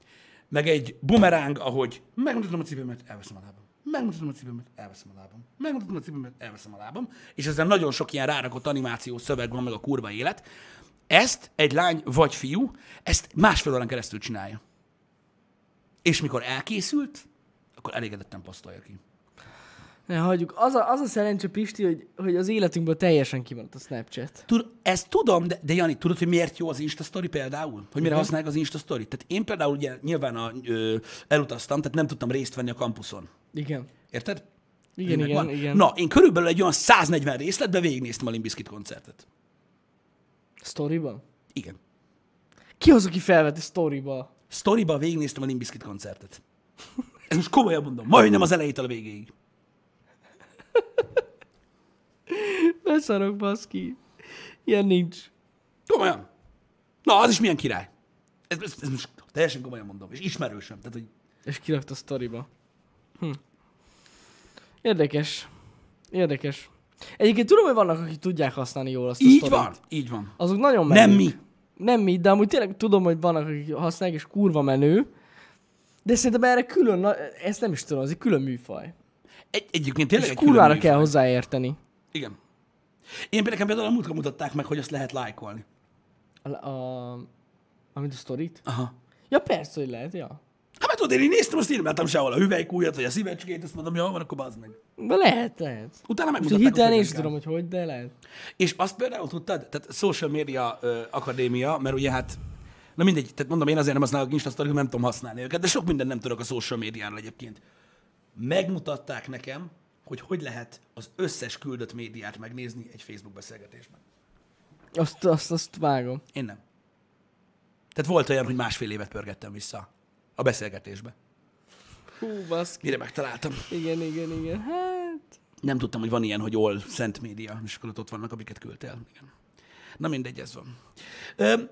Speaker 1: meg egy bumeráng, ahogy megmutatom a cipőmet, elveszem a lábam. Megmutatom a cipőmet, elveszem a lábam. Megmutatom a cipőmet, elveszem a lábam. És ezzel nagyon sok ilyen rárakott animáció szöveg van, meg a kurva élet. Ezt egy lány vagy fiú, ezt másfél órán keresztül csinálja. És mikor elkészült, akkor elégedetten posztolja ki.
Speaker 2: Ne hagyjuk. Az a, az a szerencse, Pisti, hogy, hogy az életünkből teljesen kimaradt a Snapchat.
Speaker 1: Tud, ezt tudom, de, de Jani, tudod, hogy miért jó az Insta Story például? Hogy
Speaker 2: Mhm.
Speaker 1: mire használják az Insta Story? Tehát én például ugye nyilván a, ö, elutaztam, tehát nem tudtam részt venni a kampuszon.
Speaker 2: Igen.
Speaker 1: Érted?
Speaker 2: Igen,
Speaker 1: Ennek
Speaker 2: igen,
Speaker 1: van.
Speaker 2: igen.
Speaker 1: Na, én körülbelül egy olyan 140 részletben végignéztem a Limbiskit koncertet.
Speaker 2: Sztoriban?
Speaker 1: Igen.
Speaker 2: ki az, aki felveti sztoriba?
Speaker 1: Storyba végignéztem a Limbiskit koncertet. Ez most komolyan mondom, majdnem az elejétől a végéig.
Speaker 2: Beszarok, baszki. Ilyen nincs.
Speaker 1: Komolyan. Na, az is milyen király. Ez, ez, ez most teljesen komolyan mondom, és ismerősöm. Tehát, hogy
Speaker 2: És kirakta a sztoriba. Hm. Érdekes. Érdekes. Egyébként tudom, hogy vannak, akik tudják használni jól azt a
Speaker 1: így
Speaker 2: sztorit.
Speaker 1: van, így van.
Speaker 2: Azok nagyon menők.
Speaker 1: Nem mi.
Speaker 2: Nem mi, de amúgy tényleg tudom, hogy vannak, akik használják, és kurva menő. De szerintem erre külön, na- ezt nem is tudom, az egy külön műfaj.
Speaker 1: Egy, egyébként tényleg
Speaker 2: és
Speaker 1: külön
Speaker 2: kurvára
Speaker 1: műfaj.
Speaker 2: kell hozzáérteni.
Speaker 1: Igen. Én például, például a múltkor mutatták meg, hogy azt lehet lájkolni.
Speaker 2: A, a, amit a sztorit?
Speaker 1: Aha.
Speaker 2: Ja, persze, hogy lehet, ja.
Speaker 1: Hát mert tudod, én így néztem, azt én nem láttam sehol a hüvelykújat, vagy a szívecskét, azt mondom, jó, van, akkor bazd meg.
Speaker 2: De lehet, lehet.
Speaker 1: Utána
Speaker 2: Most
Speaker 1: megmutatták,
Speaker 2: hitelen
Speaker 1: hogyan
Speaker 2: én is
Speaker 1: kell.
Speaker 2: tudom, hogy hogy, de lehet.
Speaker 1: És azt például tudtad, tehát Social Media ö, Akadémia, mert ugye hát, na mindegy, tehát mondom, én azért nem használok Insta Story, nem tudom használni őket, de sok mindent nem tudok a social médiáról egyébként. Megmutatták nekem, hogy hogy lehet az összes küldött médiát megnézni egy Facebook beszélgetésben.
Speaker 2: Azt, azt, azt vágom.
Speaker 1: Én nem. Tehát volt olyan, hogy másfél évet pörgettem vissza a beszélgetésbe.
Speaker 2: Hú, baszki.
Speaker 1: Mire megtaláltam?
Speaker 2: Igen, igen, igen. Hát...
Speaker 1: Nem tudtam, hogy van ilyen, hogy all szent média, és akkor ott ott vannak, amiket küldtél. Igen. Na mindegy, ez van. Öm,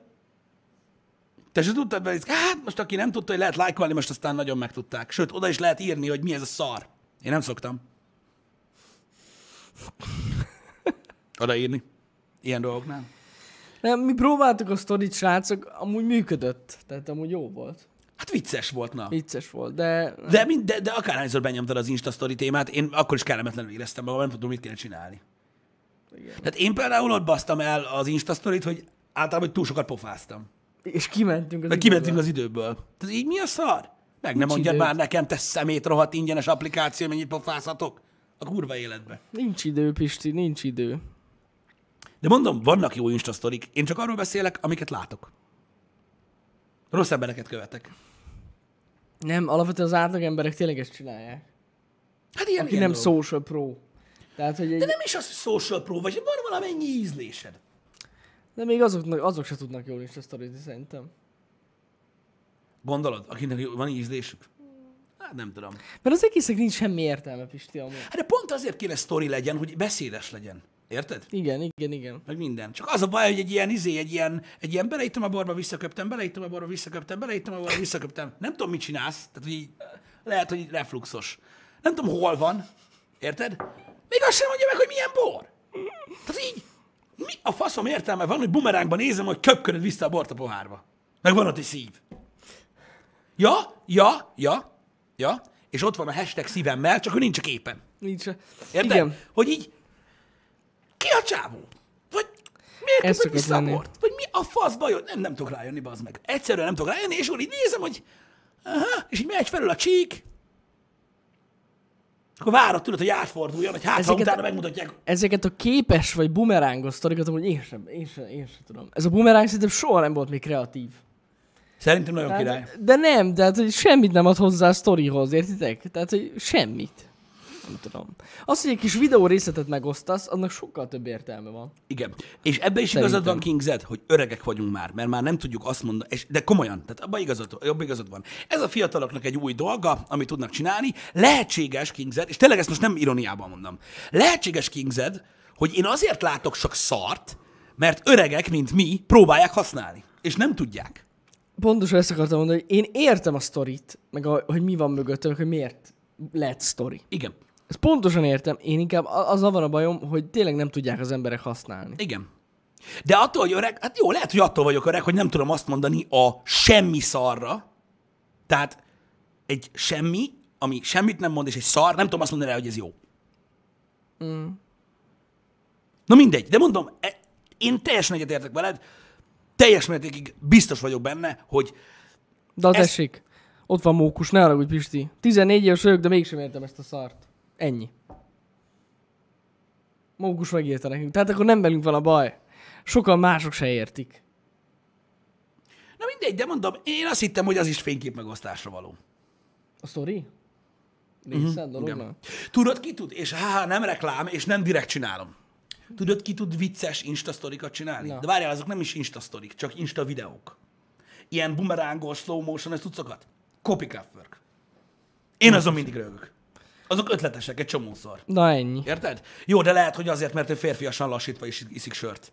Speaker 1: te se tudtad, mert hát most aki nem tudta, hogy lehet lájkolni, most aztán nagyon megtudták. Sőt, oda is lehet írni, hogy mi ez a szar. Én nem szoktam. Odaírni. Ilyen dolgoknál.
Speaker 2: Nem, mi próbáltuk a sztorit, srácok, amúgy működött. Tehát amúgy jó volt.
Speaker 1: Hát vicces volt, na.
Speaker 2: Vicces volt, de...
Speaker 1: De, mind, de, de akárhányszor benyomtad az Insta story témát, én akkor is kellemetlenül éreztem magam, nem tudom, mit kéne csinálni.
Speaker 2: Igen.
Speaker 1: Tehát én például ott basztam el az Insta storyt, hogy általában hogy túl sokat pofáztam.
Speaker 2: És kimentünk az
Speaker 1: Meg kimentünk
Speaker 2: időből.
Speaker 1: az időből. Tehát így mi a szar? Meg nem
Speaker 2: Nincs
Speaker 1: mondjad
Speaker 2: idő.
Speaker 1: már nekem, te szemét rohadt ingyenes applikáció, mennyit pofázhatok? A kurva életbe.
Speaker 2: Nincs idő, Pisti, nincs idő.
Speaker 1: De mondom, vannak jó Insta sztorik. Én csak arról beszélek, amiket látok. Rossz embereket követek.
Speaker 2: Nem, alapvetően az átlag emberek tényleg ezt csinálják.
Speaker 1: Hát ilyen,
Speaker 2: Ki
Speaker 1: ilyen
Speaker 2: nem
Speaker 1: dolgok.
Speaker 2: social pro. Tehát, hogy egy...
Speaker 1: De nem is az, hogy social pro vagy, van valamennyi ízlésed.
Speaker 2: De még azoknak, azok se tudnak jól is a sztorit, szerintem.
Speaker 1: Gondolod, akinek jó- van ízlésük? Hát nem tudom.
Speaker 2: Mert az egésznek nincs semmi értelme, Pisti, amúgy.
Speaker 1: Hát de pont azért kéne sztori legyen, hogy beszédes legyen. Érted?
Speaker 2: Igen, igen, igen.
Speaker 1: Meg minden. Csak az a baj, hogy egy ilyen izé, egy ilyen, egy ilyen beleítem a borba, visszaköptem, beleítem a borba, visszaköptem, beleítem a borba, visszaköptem. Nem tudom, mit csinálsz. Tehát, hogy így, lehet, hogy refluxos. Nem tudom, hol van. Érted? Még azt sem mondja meg, hogy milyen bor. Tehát így, mi a faszom értelme van, hogy bumerángban nézem, hogy köpködöd vissza a bort a pohárba. Meg van ott egy szív. Ja, ja, ja, ja. És ott van a hashtag szívemmel, csak ő nincs a képen.
Speaker 2: Nincs. se-
Speaker 1: Érted?
Speaker 2: Igen.
Speaker 1: Hogy így, ki a csávó? Vagy miért kapod
Speaker 2: Ez szokott
Speaker 1: vissza a
Speaker 2: lenni.
Speaker 1: bort? Vagy mi a fasz bajod? Nem, nem tudok rájönni, bazd meg. Egyszerűen nem tudok rájönni, és úgy így nézem, hogy aha, és így megy felül a csík, akkor várod, tudod, hogy átforduljon, hogy hát, ha
Speaker 2: Ezeket-
Speaker 1: utána megmutatják.
Speaker 2: ezeket a képes vagy bumerángos sztorikat, amúgy én sem, én sem, én sem tudom. Ez a bumeráng szerintem soha nem volt még kreatív.
Speaker 1: Szerintem nagyon Hát, király.
Speaker 2: Tehát, de nem, tehát hogy semmit nem ad hozzá a sztorihoz, értitek? Tehát, hogy semmit. Nem tudom. Az, hogy egy kis videó részletet megosztasz, annak sokkal több értelme van.
Speaker 1: Igen. És ebbe is igazad
Speaker 2: Szerintem.
Speaker 1: van, Kingzed, hogy öregek vagyunk már, mert már nem tudjuk azt mondani, és, de komolyan, tehát abban igazad, abban igazad van. Ez a fiataloknak egy új dolga, amit tudnak csinálni. Lehetséges, Kingzed, és tényleg ezt most nem ironiában mondom. Lehetséges, Kingzed, hogy én azért látok csak szart, mert öregek, mint mi, próbálják használni, és nem tudják.
Speaker 2: Pontosan ezt akartam mondani, hogy én értem a sztorit, meg a, hogy mi van mögötte, meg hogy miért lett sztori.
Speaker 1: Igen.
Speaker 2: Ezt pontosan értem, én inkább a- azzal van a bajom, hogy tényleg nem tudják az emberek használni.
Speaker 1: Igen. De attól, hogy öreg, hát jó, lehet, hogy attól vagyok öreg, hogy nem tudom azt mondani a semmi szarra. Tehát egy semmi, ami semmit nem mond, és egy szar, nem tudom azt mondani rá, hogy ez jó. Mm. Na mindegy, de mondom, e- én teljesen egyetértek veled, teljes mértékig biztos vagyok benne, hogy
Speaker 2: De az
Speaker 1: Ezt-
Speaker 2: esik. Ott van Mókus, ne haragudj Pisti. 14 éves vagyok, de mégsem értem ezt a szart. Ennyi. Mókus megírta nekünk. Tehát akkor nem velünk van a baj. Sokan mások se értik.
Speaker 1: na mindegy, de mondom, én azt hittem, hogy az is fénykép megosztásra való.
Speaker 2: A sztori?
Speaker 1: Mhm,
Speaker 2: Része a dolognak?
Speaker 1: Tudod, ki tud? És há, nem reklám, és nem direkt csinálom. Tudod, ki tud vicces instasztorikat csinálni?
Speaker 2: Na.
Speaker 1: De várjál, azok nem is instasztorik, csak insta videók. ilyen bumerángos, slow motion, ezt cuccokat? Copy Kraftwerk. Én azon mindig rögök. Azok ötletesek egy csomószor.
Speaker 2: Na ennyi.
Speaker 1: Érted? Jó, de lehet, hogy azért, mert ő férfiasan lassítva is iszik sört.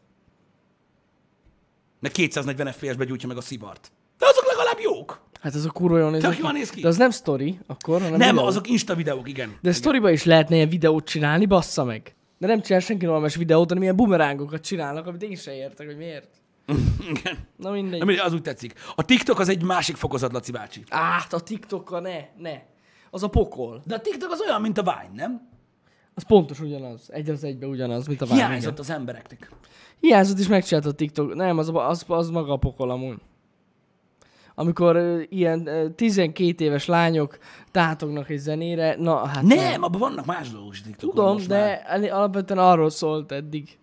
Speaker 1: Mert 240 FPS-be gyújtja meg a szivart. De azok legalább jók.
Speaker 2: Hát azok kurva jól néznek
Speaker 1: Tök jól néz ki.
Speaker 2: De az nem sztori, akkor, hanem
Speaker 1: Nem,
Speaker 2: videó.
Speaker 1: azok Insta videók, igen.
Speaker 2: De sztoriba is lehetne ilyen videót csinálni, bassza meg. De nem csinál senki normális videót, hanem ilyen bumerángokat csinálnak, amit én sem értek, hogy miért.
Speaker 1: igen.
Speaker 2: Na mindegy.
Speaker 1: Nem, az úgy tetszik. A TikTok az egy másik fokozat, Laci bácsi.
Speaker 2: Át a TikTokra, ne, ne. Az a pokol.
Speaker 1: De a TikTok az olyan, mint a Vine, nem?
Speaker 2: Az pontos ugyanaz. Egy az egybe ugyanaz, mint a Vine.
Speaker 1: Hiányzott
Speaker 2: igen. Hát
Speaker 1: az embereknek.
Speaker 2: Hiányzott is megcsinálta a TikTok. Nem, az, a- az, az maga a pokol amúgy. Amikor ö, ilyen ö, 12 éves lányok tátognak egy zenére, na hát
Speaker 1: Nem, abban vannak más dolgok is a TikTokon
Speaker 2: Tudom,
Speaker 1: most már.
Speaker 2: de el- alapvetően arról szólt eddig.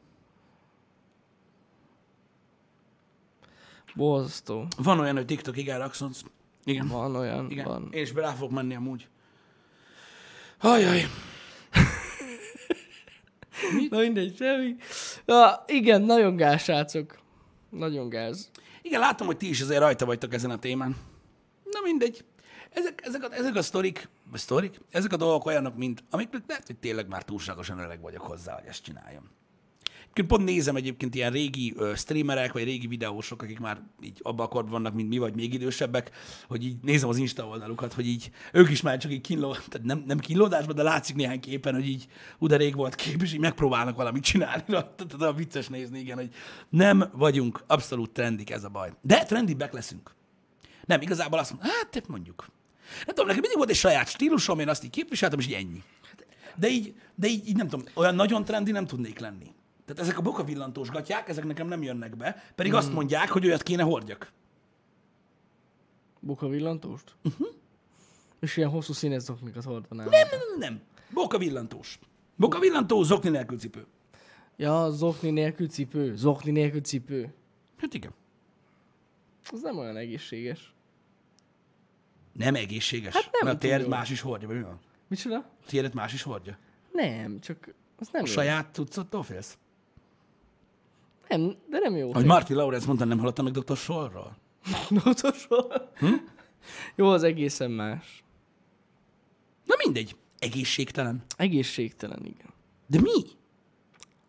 Speaker 2: Borzasztó.
Speaker 1: Van olyan, hogy TikTok igen rakszonsz. Igen.
Speaker 2: Van olyan,
Speaker 1: Igen,
Speaker 2: van.
Speaker 1: én is rá fogok menni amúgy. Ajaj.
Speaker 2: Na mindegy, semmi. Na, igen, nagyon gáz, srácok. Nagyon gáz.
Speaker 1: Igen, látom, hogy ti is azért rajta vagytok ezen a témán. Na mindegy. Ezek, ezek, a, ezek a sztorik, sztorik, ezek a dolgok olyanok, mint amiknek lehet, hogy tényleg már túlságosan öreg vagyok hozzá, hogy ezt csináljam. Egyébként pont nézem egyébként ilyen régi ö, streamerek, vagy régi videósok, akik már így abban a korban vannak, mint mi, vagy még idősebbek, hogy így nézem az Insta oldalukat, hogy így ők is már csak így kínló, tehát nem, nem kínlódásban, de látszik néhány képen, hogy így uda rég volt kép, és így megpróbálnak valamit csinálni. rajta. Tehát a vicces nézni, igen, hogy nem vagyunk abszolút trendik, ez a baj. De trendibbek leszünk. Nem, igazából azt mondom, hát mondjuk. Nem tudom, nekem mindig volt egy saját stílusom, én azt így képviseltem, és így ennyi. De így, de így, így nem tudom, olyan nagyon trendi nem tudnék lenni. Tehát ezek a boka villantós gatyák, ezek nekem nem jönnek be, pedig azt mondják, hogy olyat kéne hordjak.
Speaker 2: Buka villantóst? Uh-huh. És ilyen hosszú színes zoknikat hordanál.
Speaker 1: Mhm. Nem, nem, nem, nem. Boka villantós. Boka villantós, zokni nélkül cipő.
Speaker 2: Ja, zokni nélkül cipő. Zokni nélkül cipő.
Speaker 1: Hát igen.
Speaker 2: Az nem olyan egészséges.
Speaker 1: Nem egészséges. Hát
Speaker 2: nem
Speaker 1: Mert a
Speaker 2: túl
Speaker 1: tiédet
Speaker 2: jó.
Speaker 1: más is hordja, vagy mi van?
Speaker 2: Micsoda?
Speaker 1: A tiédet más is hordja.
Speaker 2: Nem, csak az nem
Speaker 1: A
Speaker 2: jó.
Speaker 1: saját tudszodtól félsz?
Speaker 2: Nem, de nem jó.
Speaker 1: Ahogy Martin Lawrence mondta, nem hallottam meg Dr. Sorról.
Speaker 2: Notosol. Hm? Jó, az egészen más.
Speaker 1: Na mindegy. Egészségtelen.
Speaker 2: Egészségtelen, igen.
Speaker 1: De mi?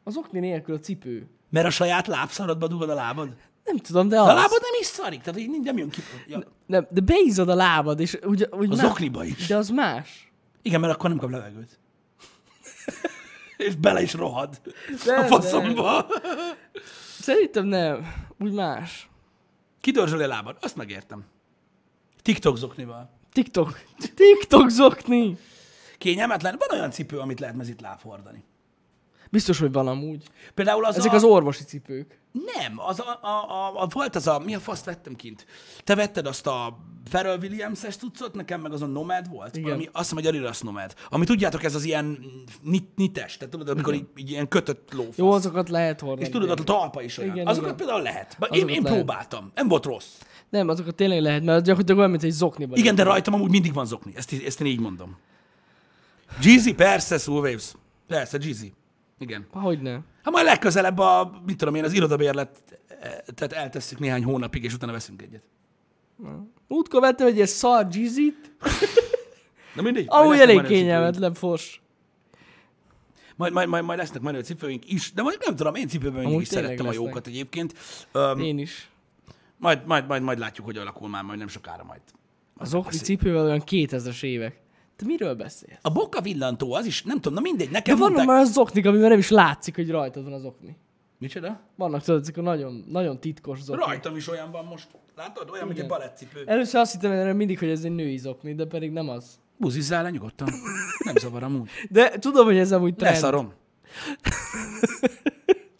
Speaker 2: Az okni nélkül a cipő.
Speaker 1: Mert a saját lábszaradba dugod a lábad?
Speaker 2: Nem tudom, de az.
Speaker 1: A lábad nem is szarik, tehát így nem jön ki. Ja,
Speaker 2: Nem, de beízod a lábad, és úgy, úgy
Speaker 1: az
Speaker 2: más-
Speaker 1: okniba is.
Speaker 2: De az más.
Speaker 1: Igen, mert akkor nem kap levegőt. És bele is rohad a
Speaker 2: Nem,
Speaker 1: faszomba.
Speaker 2: Szerintem nem. Úgy más.
Speaker 1: Kidörzsöli a lábad, azt megértem. TikTok zoknival.
Speaker 2: TikTok. TikTok zokni.
Speaker 1: Kényelmetlen. Van olyan cipő, amit lehet mezitláb hordani.
Speaker 2: Biztos, hogy van amúgy.
Speaker 1: Például az
Speaker 2: Ezek
Speaker 1: a...
Speaker 2: az orvosi cipők.
Speaker 1: Nem, az a, a, a, a, volt az a, mi a faszt vettem kint? Te vetted azt a Pharrell Williams-es cuccot, nekem meg az a Nomad volt,
Speaker 2: Igen.
Speaker 1: Igen. Valami, azt hiszem, hogy Adidas Nomad. Ami tudjátok, ez az ilyen mm, nit, nites, tehát tudod, amikor így, így, ilyen kötött lófasz.
Speaker 2: Jó, azokat lehet hordani.
Speaker 1: És tudod, ott a talpa is olyan.
Speaker 2: Igen,
Speaker 1: Igen, Azokat
Speaker 2: igen.
Speaker 1: igen. például lehet. Bár én,
Speaker 2: Azokat
Speaker 1: én
Speaker 2: lehet.
Speaker 1: próbáltam. Nem volt rossz.
Speaker 2: Nem, azokat tényleg lehet, mert gyakorlatilag olyan, mint egy zokniban.
Speaker 1: Igen, de rajtam amúgy mindig van zokni. Ezt, ezt én így mondom. Jeezy, persze, Soul Waves. Persze, Jeezy. Igen.
Speaker 2: Hogy ne?
Speaker 1: Hát majd legközelebb a, mit tudom én, az irodabérlet, eh, tehát eltesszük néhány hónapig, és utána veszünk egyet.
Speaker 2: Múltkor vettem egy ilyen szar gizit,
Speaker 1: Na mindegy. majd
Speaker 2: amúgy
Speaker 1: lesznek
Speaker 2: elég
Speaker 1: menő cipőink.
Speaker 2: kényelmetlen fos.
Speaker 1: Majd, majd, majd, majd lesznek menő cipőink is, de mondjuk nem tudom, én cipőben mindig
Speaker 2: Amúgy
Speaker 1: is
Speaker 2: tényleg
Speaker 1: szerettem a
Speaker 2: lesznek.
Speaker 1: jókat egyébként. Um,
Speaker 2: Én is.
Speaker 1: majd, majd, majd, majd látjuk, hogy alakul már, majd nem sokára majd.
Speaker 2: Az okni cipővel olyan 2000-es évek. Te miről beszél?
Speaker 1: A boka villantó, az is, nem tudom, na mindegy,
Speaker 2: De
Speaker 1: nekem
Speaker 2: vannak
Speaker 1: mondták-
Speaker 2: már az oknik, amiben nem is látszik, hogy rajtad van az okni.
Speaker 1: Micsoda?
Speaker 2: Vannak tudod, ezek a nagyon, nagyon titkos zokni.
Speaker 1: Rajtam is olyan van most. Látod? Olyan, mint egy balettcipő.
Speaker 2: Először azt hittem erre mindig, hogy ez egy női zokni, de pedig nem az.
Speaker 1: Buzizzál le nyugodtan. Nem zavar amúgy.
Speaker 2: De tudom, hogy ez amúgy trend.
Speaker 1: Leszarom.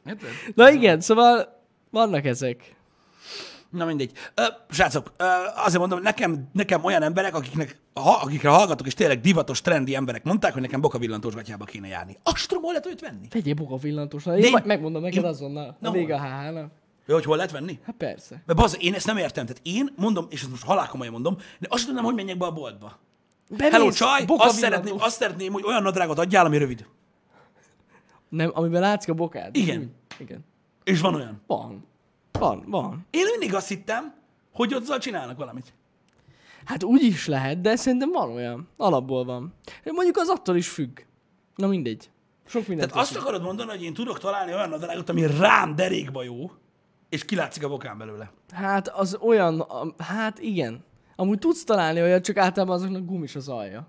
Speaker 1: Érted?
Speaker 2: Na igen, szóval vannak ezek.
Speaker 1: Na mindegy. Ö, srácok, ö, azért mondom, nekem, nekem olyan emberek, akiknek, ha, akikre hallgatok, és tényleg divatos, trendi emberek mondták, hogy nekem bokavillantós gatyába kéne járni. Astromol lehet őt venni?
Speaker 2: Vegyél boga villantósnál. Én,
Speaker 1: én-
Speaker 2: én megmondom neked
Speaker 1: én-
Speaker 2: azonnal.
Speaker 1: Na
Speaker 2: Na, vége a
Speaker 1: hol?
Speaker 2: háhának.
Speaker 1: Ő, hogy hol lehet venni?
Speaker 2: Hát persze.
Speaker 1: Mert bazd, én ezt nem értem. Tehát én mondom, és ezt most halálkomolyan mondom, de azt tudom, hogy menjek be a boltba.
Speaker 2: Bemész,
Speaker 1: Hello, csaj,
Speaker 2: boga
Speaker 1: azt
Speaker 2: villantós.
Speaker 1: szeretném, azt szeretném, hogy olyan nadrágot adjál, ami rövid.
Speaker 2: Nem, amiben látszik a bokád.
Speaker 1: Igen.
Speaker 2: Igen.
Speaker 1: És van olyan.
Speaker 2: Van. Van, van.
Speaker 1: Én mindig azt hittem, Hogy azzal csinálnak valamit.
Speaker 2: Hát úgy is lehet, de szerintem van olyan. Alapból van. Mondjuk az attól is függ. Na mindegy. Sok mindent.
Speaker 1: Tehát azt akarod mondani, hogy én tudok találni olyan nadrágot, ami rám derékba jó, és kilátszik a bokám belőle.
Speaker 2: Hát az olyan, am- hát igen. Amúgy tudsz találni olyat, csak általában azoknak gumis az alja.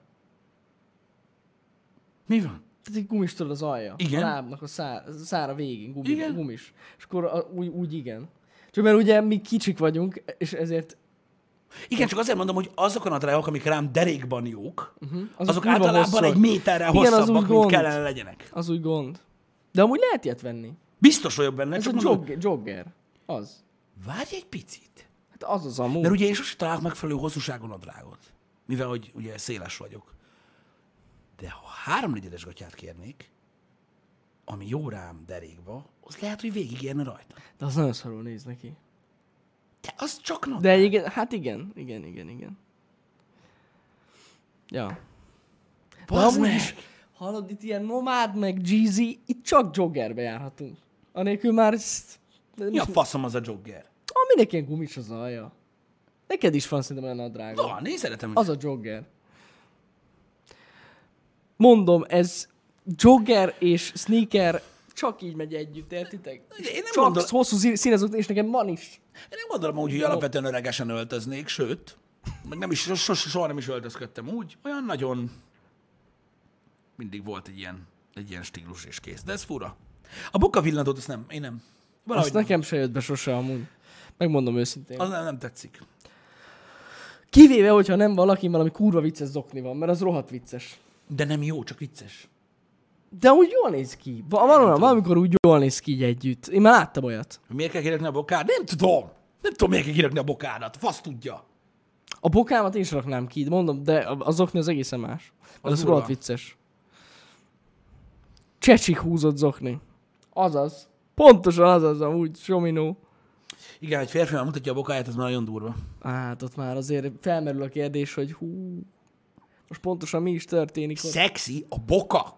Speaker 1: Mi van?
Speaker 2: Tehát egy gumis tudod az alja.
Speaker 1: Igen.
Speaker 2: A lábnak a szá, szára végén gumi,
Speaker 1: Igen.
Speaker 2: igen. gumis. És akkor a, úgy, úgy igen. Csak mert ugye mi kicsik vagyunk, és ezért
Speaker 1: Igen, csak azért mondom, hogy azok a nadrágok, amik rám derékban jók, uh-huh. azok, azok
Speaker 2: Mhm. kurva
Speaker 1: általában
Speaker 2: hosszak.
Speaker 1: egy méterrel
Speaker 2: Igen, az
Speaker 1: hosszabbak,
Speaker 2: úgy
Speaker 1: mint
Speaker 2: gond.
Speaker 1: kellene legyenek.
Speaker 2: az úgy gond. De amúgy lehet ilyet venni.
Speaker 1: Biztos vagyok benne,
Speaker 2: Ez
Speaker 1: csak
Speaker 2: a
Speaker 1: mondom,
Speaker 2: jog, jogger. Az.
Speaker 1: várj egy picit.
Speaker 2: Hát az az amúgy.
Speaker 1: Mert ugye én sosem találok megfelelő hosszúságon nadrágot, mivel hogy ugye széles vagyok. De ha háromnegyedes gatyát kérnék, ami jó rám derékba, az lehet, hogy végigérne rajta.
Speaker 2: De az nagyon szarul néz neki.
Speaker 1: De az csak nadrág.
Speaker 2: De egyébként, hát igen, igen, igen, igen. Ja. De
Speaker 1: Bazd
Speaker 2: amúgy
Speaker 1: meg!
Speaker 2: is, hallod, itt ilyen nomád meg Jeezy, itt csak joggerbe járhatunk. Anélkül már... ezt- De
Speaker 1: Mi a
Speaker 2: most-
Speaker 1: faszom az a jogger?
Speaker 2: Ah, mindenki ilyen gumis az alja. Neked is van szerintem olyan nadrágod.
Speaker 1: Van, én szeretem.
Speaker 2: Az a jogger. Mondom, ez jogger és sneaker csak így megy együtt, értitek?
Speaker 1: Ugye én nem
Speaker 2: csak
Speaker 1: gondol-
Speaker 2: hosszú szín- színezőt, és nekem van is.
Speaker 1: Én nem gondolom úgy, hogy alapvetően öregesen öltöznék, sőt, meg nem is, soha, soha nem is öltözködtem úgy, olyan nagyon mindig volt egy ilyen, egy ilyen stílus és kész. De ez fura. A boka villantót azt nem, én nem. Valahogy
Speaker 2: Azt
Speaker 1: nem.
Speaker 2: nekem se jött be sose amúgy. Megmondom őszintén.
Speaker 1: Az nem, nem tetszik.
Speaker 2: Kivéve, hogyha nem valaki valami kurva vicces zokni van, mert az rohadt vicces.
Speaker 1: De nem jó, csak vicces.
Speaker 2: De úgy jól néz ki. Va- Van olyan, valamikor úgy jól néz ki így együtt. Én már láttam olyat.
Speaker 1: Hogy Miért kell kirakni a bokád? Nem tudom. Nem tudom, miért kell kirakni a bokádat. Fasz tudja.
Speaker 2: A bokámat én sem raknám ki, mondom, de a- az zokni az egészen más. Az, az
Speaker 1: durva.
Speaker 2: rohadt vicces. Csecsik húzott zokni. Azaz. Pontosan azaz amúgy, Sominó.
Speaker 1: Igen, egy férfi már mutatja a bokáját, az már nagyon durva.
Speaker 2: Hát ott már azért felmerül a kérdés, hogy hú, most pontosan mi is történik. Ott.
Speaker 1: Szexi a boka.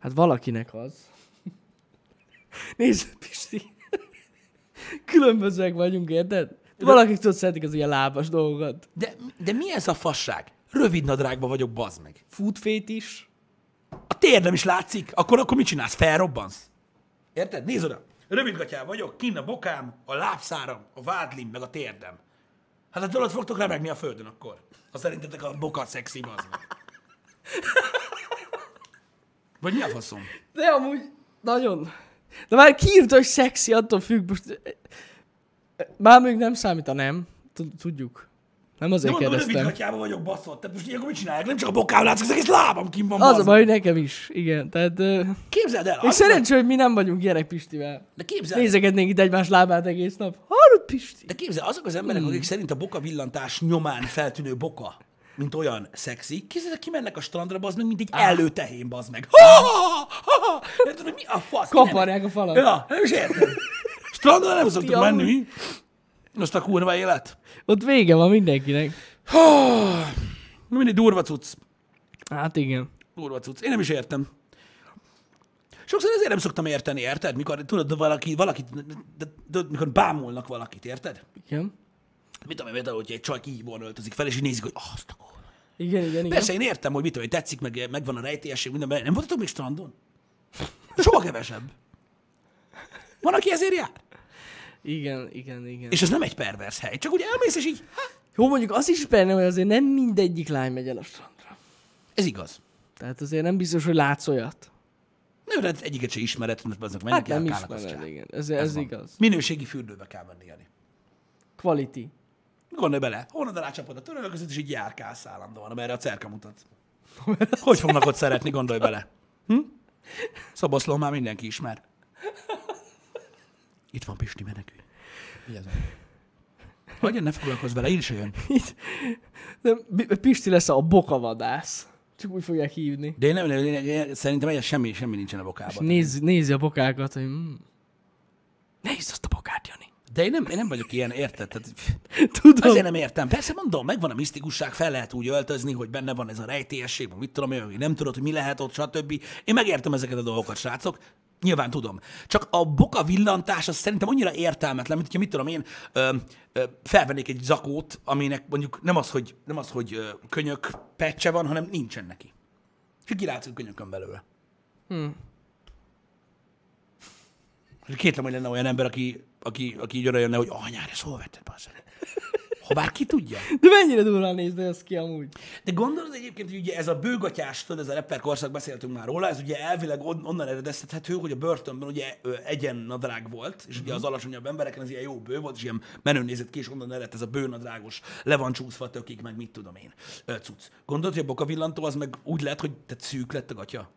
Speaker 2: Hát valakinek az. Nézd, Pisti. Különbözőek vagyunk, érted? Valakik tudod szeretik az ilyen lábas dolgokat.
Speaker 1: De, de mi ez a fasság? Rövid nadrágban vagyok, bazd meg.
Speaker 2: Food is.
Speaker 1: A térdem is látszik, akkor, akkor mit csinálsz? Felrobbansz? Érted? Nézd oda. Rövidgatyán vagyok, kinn a bokám, a lábszáram, a vádlim, meg a térdem. Hát a dolog fogtok remegni a földön akkor. Ha szerintetek a boka szexi, bazd meg. Vagy mi a faszom?
Speaker 2: De amúgy nagyon. De már kiírta, hogy szexi, attól függ most. Már még nem számít a nem. Tud- Tudjuk. Nem
Speaker 1: De
Speaker 2: azért
Speaker 1: mondom, rövid
Speaker 2: kérdeztem.
Speaker 1: gatyában vagyok baszott. Tehát most ilyenkor mit csinálják? Nem csak a bokám látszik, az egész lábam kim van.
Speaker 2: Az a
Speaker 1: bazd
Speaker 2: baj,
Speaker 1: meg.
Speaker 2: hogy nekem is. Igen, tehát... ö,
Speaker 1: Képzeld el.
Speaker 2: Még
Speaker 1: az-
Speaker 2: szerencsé, hogy mi nem vagyunk ilyenek Pistivel.
Speaker 1: De képzeld,
Speaker 2: Nézegetnénk itt egymás lábát egész nap. Hallod, Pisti?
Speaker 1: De képzel, azok az emberek, akik szerint a boka villantás nyomán feltűnő boka, mint olyan szexi, képzeld, kimennek a strandra, bazd meg, mint egy előtehén, bazd meg. Ha, ha, ha, ha. Érted, hogy mi a fasz?
Speaker 2: Kaparják a falat.
Speaker 1: Ja, nem is értem. Strandra nem szoktunk
Speaker 2: amúgy.
Speaker 1: menni, mi? Most a kurva élet.
Speaker 2: Ott vége van mindenkinek.
Speaker 1: Na mindig durva cucc.
Speaker 2: Hát igen.
Speaker 1: Durva cucc. Én nem is értem. Sokszor ezért nem szoktam érteni, érted? Mikor tudod, valaki, valakit, de, de, de, mikor bámulnak valakit, érted?
Speaker 2: Igen.
Speaker 1: Mit tudom én, például, hogy egy csaj kihívóan öltözik fel, és így nézik, hogy "Ah, azt a kurva.
Speaker 2: Igen, igen, igen.
Speaker 1: Persze, én értem, hogy mit tudom, hogy tetszik, meg, megvan a rejtélyesség, minden. benne. Nem voltatok még strandon? Soha kevesebb. Van, aki ezért jár.
Speaker 2: Igen, igen, igen. És
Speaker 1: És ez nem egy pervers hely, csak úgy elmész, és így, hát,
Speaker 2: jó, mondjuk az is benne, hogy azért nem mindegyik lány megy el a strandra.
Speaker 1: ez igaz.
Speaker 2: Tehát azért nem biztos, hogy látsz olyat.
Speaker 1: Nem, de egyiket se ismered, most azok mennek
Speaker 2: Hát
Speaker 1: hát
Speaker 2: nem
Speaker 1: el, az
Speaker 2: ismered, igen. Ez, ez, ez igaz.
Speaker 1: Minőségi fürdőbe kell menni, Jani.
Speaker 2: Quality.
Speaker 1: Gondolj bele, honnan rácsapod a törölök között, és így járkálsz állandóan, amerre a cerka mutat. Hogy fognak ott szeretni, gondolj bele. Hm? Szaboszló már mindenki ismer. Itt van Pisti, menekülj.
Speaker 3: Vigyázz
Speaker 1: Hagyjon, ne foglalkozz vele, én is jön.
Speaker 2: De B- Pisti lesz a bokavadász. Csak úgy fogják hívni.
Speaker 1: De én nem, én, én, én, szerintem egyes semmi, semmi nincsen a
Speaker 2: És
Speaker 1: bokában.
Speaker 2: néz, nézi a bokákat, hogy... Mm. Nézd azt a bokát, Jani.
Speaker 1: De én nem, én nem vagyok ilyen, érted? Tehát,
Speaker 2: Tudom.
Speaker 1: azért nem értem. Persze mondom, megvan a misztikusság, fel lehet úgy öltözni, hogy benne van ez a rejtélyesség, meg mit tudom én, hogy nem tudod, hogy mi lehet ott, stb. Én megértem ezeket a dolgokat, srácok. Nyilván tudom. Csak a boka villantás az szerintem annyira értelmetlen, mint hogyha mit tudom én, ö, ö, felvennék egy zakót, aminek mondjuk nem az, hogy, nem az, hogy ö, könyök pecse van, hanem nincsen neki. És kilátszik a könyökön belőle. Hmm. Kétlem, hogy lenne olyan ember, aki, aki, aki így oda jönne, hogy anyár, ezt hol vetted, bazzeg? Habár ki tudja.
Speaker 2: De mennyire durván néz de ez ki amúgy?
Speaker 1: De gondolod egyébként, hogy ugye ez a bőgatyás, tudod, ez a rapper korszak, beszéltünk már róla, ez ugye elvileg on- onnan eredeztethető, hogy a börtönben ugye ö, egyen nadrág volt, és ugye az alacsonyabb embereken ez ilyen jó bő volt, és ilyen menő nézett ki, és onnan eredt ez a bőnadrágos, le van csúszva tökig, meg mit tudom én, ö, cucc. Gondolod, hogy a bokavillantó az meg úgy lett, hogy te szűk lett a gatya?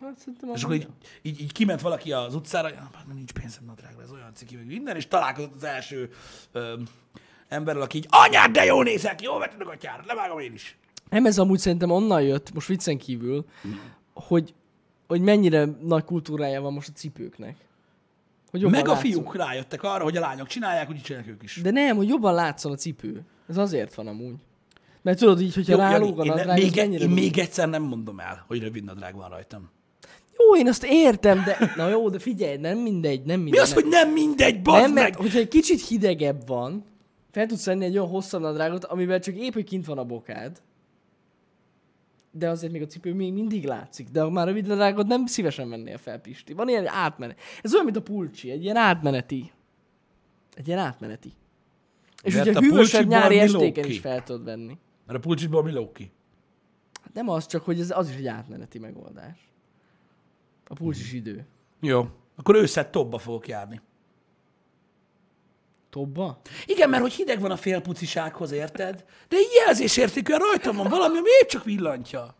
Speaker 2: Hát szerintem
Speaker 1: És
Speaker 2: amúgy
Speaker 1: akkor így, így, így kiment valaki az utcára, ja, nem nincs pénzem nadrágra, ez olyan ciki, meg minden, és találkozott az első ö, emberrel, aki így, anyád, de jó nézel ki, jól vetted a gatyára, levágom én is.
Speaker 2: Nem, ez amúgy szerintem onnan jött, most viccen kívül, hogy, hogy mennyire nagy kultúrája van most a cipőknek. Hogy jobban
Speaker 1: Meg a
Speaker 2: látszon.
Speaker 1: fiúk rájöttek arra, hogy a lányok csinálják, úgy csinálják ők is.
Speaker 2: De nem, hogy jobban látszon a cipő. Ez azért van amúgy. Mert tudod így, hogyha
Speaker 1: Jani,
Speaker 2: rálóg a
Speaker 1: én, ne-
Speaker 2: nadrág,
Speaker 1: még, e-
Speaker 2: még,
Speaker 1: én
Speaker 2: mennyire...
Speaker 1: még egyszer nem mondom el, hogy rövid nadrág van rajtam.
Speaker 2: Jó, én azt értem, de... Na jó, de figyelj, nem mindegy, nem mindegy.
Speaker 1: Mi az,
Speaker 2: nem.
Speaker 1: hogy nem mindegy, bazd
Speaker 2: Nem, mert
Speaker 1: meg!
Speaker 2: hogyha egy kicsit hidegebb van, fel tudsz venni egy olyan hosszabb nadrágot, amivel csak épp, hogy kint van a bokád, de azért még a cipő még mindig látszik, de már rövid nadrágot nem szívesen vennél fel, Pisti. Van ilyen átmenet. Ez olyan, mint a pulcsi, egy ilyen átmeneti. Egy ilyen átmeneti. És
Speaker 1: Mert
Speaker 2: ugye
Speaker 1: hát a
Speaker 2: a hűvösebb
Speaker 1: pulcsiból
Speaker 2: nyári
Speaker 1: mi
Speaker 2: estéken
Speaker 1: lóg
Speaker 2: is
Speaker 1: ki?
Speaker 2: fel tudod venni.
Speaker 1: Mert a pulcsitból mi lóg ki?
Speaker 2: Hát nem az, csak hogy ez, az is egy átmeneti megoldás. A pulcsis idő.
Speaker 1: Jó. Akkor ősszel tobba fogok járni.
Speaker 2: Tobba?
Speaker 1: Igen, mert hogy hideg van a félpucisághoz, érted? De így jelzésértékűen rajtam van valami, ami épp csak villantja.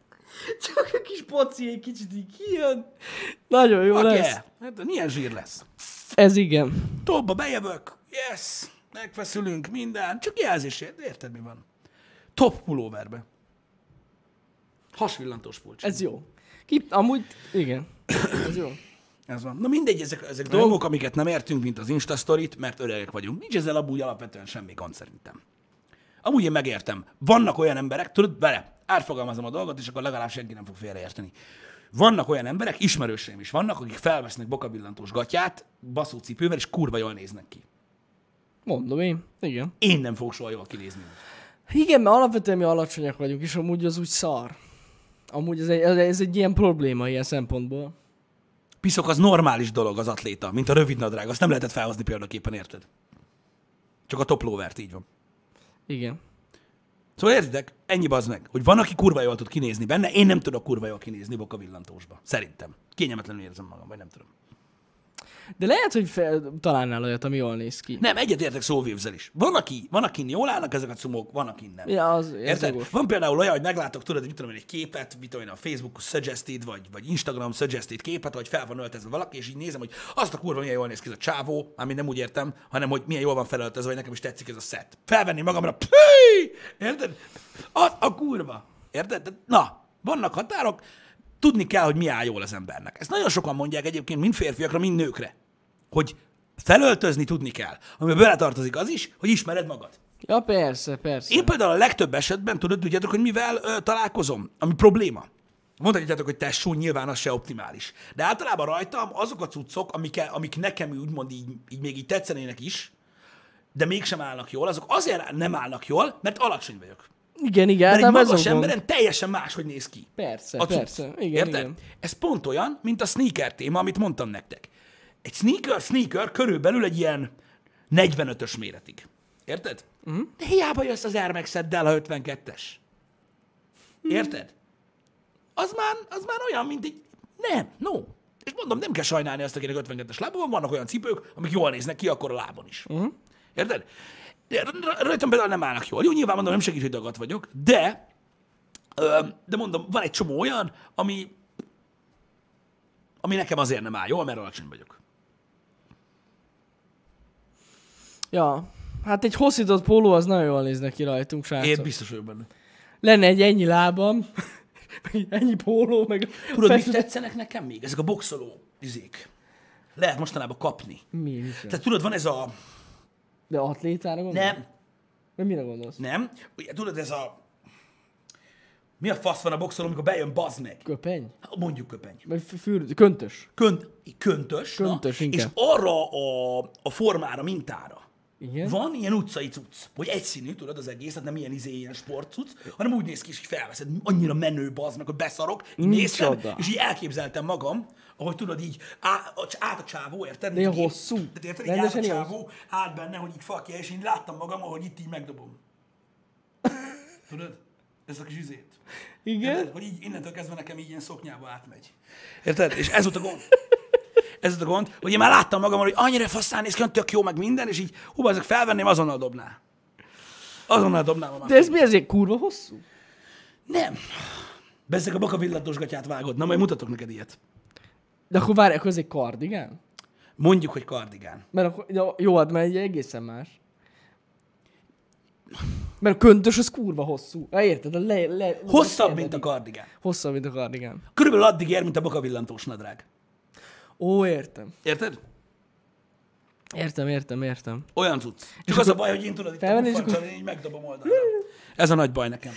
Speaker 2: Csak a kis poci egy kicsit így kijön. Nagyon jó
Speaker 1: Fuck
Speaker 2: lesz.
Speaker 1: yeah. Hát, milyen zsír lesz?
Speaker 2: Ez igen.
Speaker 1: Tobba, bejövök. Yes. Megfeszülünk, minden. Csak jelzésért, érted mi van? Top pulóverbe. Hasvillantós pulcs.
Speaker 2: Ez jó. Ki, amúgy, igen. Ez jó.
Speaker 1: Ez van. Na mindegy, ezek, ezek dolgok, amiket nem értünk, mint az Insta sztorit, mert öregek vagyunk. Nincs ezzel amúgy alapvetően semmi gond szerintem. Amúgy én megértem. Vannak olyan emberek, tudod, vele, átfogalmazom a dolgot, és akkor legalább senki nem fog félreérteni. Vannak olyan emberek, ismerőseim is vannak, akik felvesznek bokabillantós gatyát, baszó cipővel, és kurva jól néznek ki.
Speaker 2: Mondom én. Igen.
Speaker 1: Én nem fogok soha jól kinézni.
Speaker 2: Igen, mert alapvetően mi alacsonyak vagyunk, és amúgy az úgy szar. Amúgy ez egy, ez egy ilyen probléma ilyen szempontból.
Speaker 1: Piszok az normális dolog az atléta, mint a rövidnadrág. Azt nem lehetett felhozni példaképpen, érted? Csak a toplóvert, így van.
Speaker 2: Igen.
Speaker 1: Szóval értitek? Ennyi bazd meg, hogy van, aki kurva jól tud kinézni benne, én nem tudok kurva jól kinézni boka villantósba. Szerintem. Kényelmetlenül érzem magam, vagy nem tudom.
Speaker 2: De lehet, hogy fel, találnál olyat, ami jól néz ki.
Speaker 1: Nem, egyetértek szóvívzel is. Van, aki, van, akin jól állnak ezek a cumók, van, akin nem.
Speaker 2: Ja, az, ez
Speaker 1: Érted?
Speaker 2: jogos.
Speaker 1: Van például olyan, hogy meglátok, tudod, mit tudom én, egy képet, mit tudom én, a Facebook suggested, vagy, vagy Instagram suggested képet, hogy fel van öltözve valaki, és így nézem, hogy azt a kurva milyen jól néz ki ez a csávó, ami nem úgy értem, hanem hogy milyen jól van felöltözve, vagy nekem is tetszik ez a set. Felvenni magamra, püi! Érted? Az a kurva. Érted? Tehát, Na, vannak határok, tudni kell, hogy mi áll jól az embernek. Ezt nagyon sokan mondják egyébként, mind férfiakra, mind nőkre, hogy felöltözni tudni kell, amiben beletartozik az is, hogy ismered magad.
Speaker 2: Ja, persze, persze.
Speaker 1: Én például a legtöbb esetben tudod, tudjátok, hogy mivel ö, találkozom, ami probléma. Mondhatjátok, hogy tesó, nyilván az se optimális. De általában rajtam azok a cuccok, amik, amik nekem úgymond így, így még így tetszenének is, de mégsem állnak jól, azok azért nem állnak jól, mert alacsony vagyok.
Speaker 2: Igen, igen,
Speaker 1: Mert egy
Speaker 2: általában ez
Speaker 1: magas
Speaker 2: Hát a gond.
Speaker 1: emberen teljesen máshogy néz ki.
Speaker 2: Persze,
Speaker 1: A cucc.
Speaker 2: persze. Igen,
Speaker 1: Érted?
Speaker 2: igen.
Speaker 1: Ez pont olyan, mint a sneaker téma, amit mondtam nektek. Egy sneaker, sneaker körülbelül egy ilyen 45-ös méretig. Érted?
Speaker 2: Mhm.
Speaker 1: Uh-huh. De hiába jössz az Air Max-eddel a 52-es.
Speaker 2: Mhm.
Speaker 1: Érted? Az már, az már olyan, mint egy... Nem, no. És mondom, nem kell sajnálni azt, akinek 52-es lába van, vannak olyan cipők, amik jól néznek ki akkor a lábon is.
Speaker 2: Mhm.
Speaker 1: Uh-huh. Érted? De r- r- Rajtam például nem állnak jól. Jó, nyilván mondom, nem segít, hogy dagat vagyok, de Ö, de mondom, van egy csomó olyan, ami, ami nekem azért nem áll jól, mert alacsony vagyok.
Speaker 2: Ja. Hát egy hosszított póló az nagyon jól néz neki rajtunk, srácok.
Speaker 1: Én biztos vagyok benne.
Speaker 2: lenne egy ennyi lábam, meg ennyi póló, meg...
Speaker 1: Tudod, mit
Speaker 2: Fest-
Speaker 1: tetszenek nekem még? Ezek a boxoló izék. Lehet mostanában kapni.
Speaker 2: Mi is ez?
Speaker 1: Tehát tudod, van ez a...
Speaker 2: De atlétára gondolsz?
Speaker 1: Nem,
Speaker 2: Nem. mire gondolsz?
Speaker 1: nem. Ugye, tudod, ez a... Mi a fasz van a boxol, amikor bejön, bazd meg?
Speaker 2: Köpeny?
Speaker 1: Hát Mondjuk köpeny.
Speaker 2: Vagy f- fürd, köntös.
Speaker 1: Könt, köntös,
Speaker 2: Köntös,
Speaker 1: na, és
Speaker 2: inkább.
Speaker 1: arra a, a formára, mintára.
Speaker 2: Igen.
Speaker 1: Van ilyen utcai cucc, hogy egyszínű, tudod, az egész, tehát nem ilyen izé, ilyen sportcucc, hanem úgy néz ki, és így felveszed, annyira menő bazd meg, hogy beszarok, így
Speaker 2: Nincs
Speaker 1: néztem,
Speaker 2: oda.
Speaker 1: és így elképzeltem magam, ahogy tudod, így á, a- át a csávó, érted?
Speaker 2: De ilyen
Speaker 1: Így-
Speaker 2: hosszú.
Speaker 1: Tehát érted, így át a
Speaker 2: Rendesen ilyen
Speaker 1: csávó, át benne, hogy így fakja, és én láttam magam, ahogy itt így megdobom. Tudod? Ez a kis izét. Érted?
Speaker 2: Igen?
Speaker 1: Hogy így innentől kezdve nekem így ilyen szoknyába átmegy. Érted? És ez volt a gond. Ez volt a gond, hogy én már láttam magamon, hogy annyira faszán néz ki, olyan tök jó meg minden, és így, hú, ezek felvenném, azonnal dobná. Azonnal dobnám a
Speaker 2: De ez mi ezért kurva hosszú?
Speaker 1: Nem. Bezzeg a baka villatós gatyát vágod. Na, majd mutatok neked ilyet.
Speaker 2: De akkor várj, akkor ez egy kardigán?
Speaker 1: Mondjuk, hogy kardigán.
Speaker 2: Mert akkor, ja, jó, hát mert egy egészen más. Mert a köntös az kurva hosszú. Hát Érted? A Le, le,
Speaker 1: Hosszabb,
Speaker 2: le-
Speaker 1: mint a kardigán.
Speaker 2: Hosszabb, mint a kardigán.
Speaker 1: Körülbelül addig ér, mint a baka villantós nadrág.
Speaker 2: Ó, értem.
Speaker 1: Érted?
Speaker 2: Értem, értem, értem.
Speaker 1: Olyan cucc. Csak az a baj, hogy én tudod, itt a
Speaker 2: felvenni, és
Speaker 1: bufancson,
Speaker 2: akkor-
Speaker 1: én így megdobom oldalra. Ez a nagy baj nekem.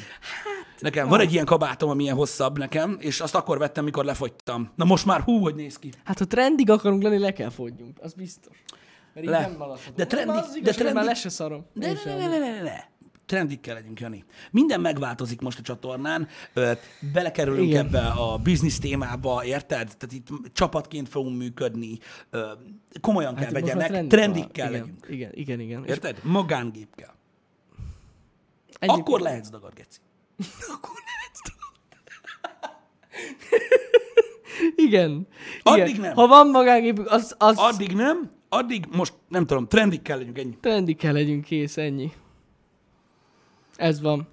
Speaker 1: Nekem van egy ilyen kabátom, ami ilyen hosszabb nekem, és azt akkor vettem, mikor lefogytam. Na most már hú, hogy néz ki.
Speaker 2: Hát ha trendig akarunk lenni, le kell fogyjunk. Az biztos. Mert így
Speaker 1: Le.
Speaker 2: nem maradhatunk.
Speaker 1: De trendig-
Speaker 2: Az igaz,
Speaker 1: de
Speaker 2: hogy
Speaker 1: trendig-
Speaker 2: Már le se szarom.
Speaker 1: De
Speaker 2: Én
Speaker 1: ne,
Speaker 2: sem.
Speaker 1: ne, ne, ne, ne, ne. Trendikkel legyünk, Jani. Minden megváltozik most a csatornán. Ö, Belekerülünk Igen.
Speaker 2: Igen.
Speaker 1: ebbe a biznisz témába, érted? Tehát itt csapatként fogunk működni. Ö, Komolyan kell
Speaker 2: Hát
Speaker 1: hát
Speaker 2: most már
Speaker 1: vegyenek.
Speaker 2: trendik
Speaker 1: Trendikkel
Speaker 2: van.
Speaker 1: legyünk.
Speaker 2: Igen, igen, igen. igen. És
Speaker 1: Érted? Magángépkel.
Speaker 2: ennyi-
Speaker 1: Akkor lehetsz dagad, geci.
Speaker 2: Igen.
Speaker 1: Addig
Speaker 2: igen.
Speaker 1: nem.
Speaker 2: Ha van magángépük, az, az Addig...
Speaker 1: Addig nem, addig most nem tudom, trendikkel legyünk, ennyi.
Speaker 2: trendig kell legyünk kész, ennyi. Ez van.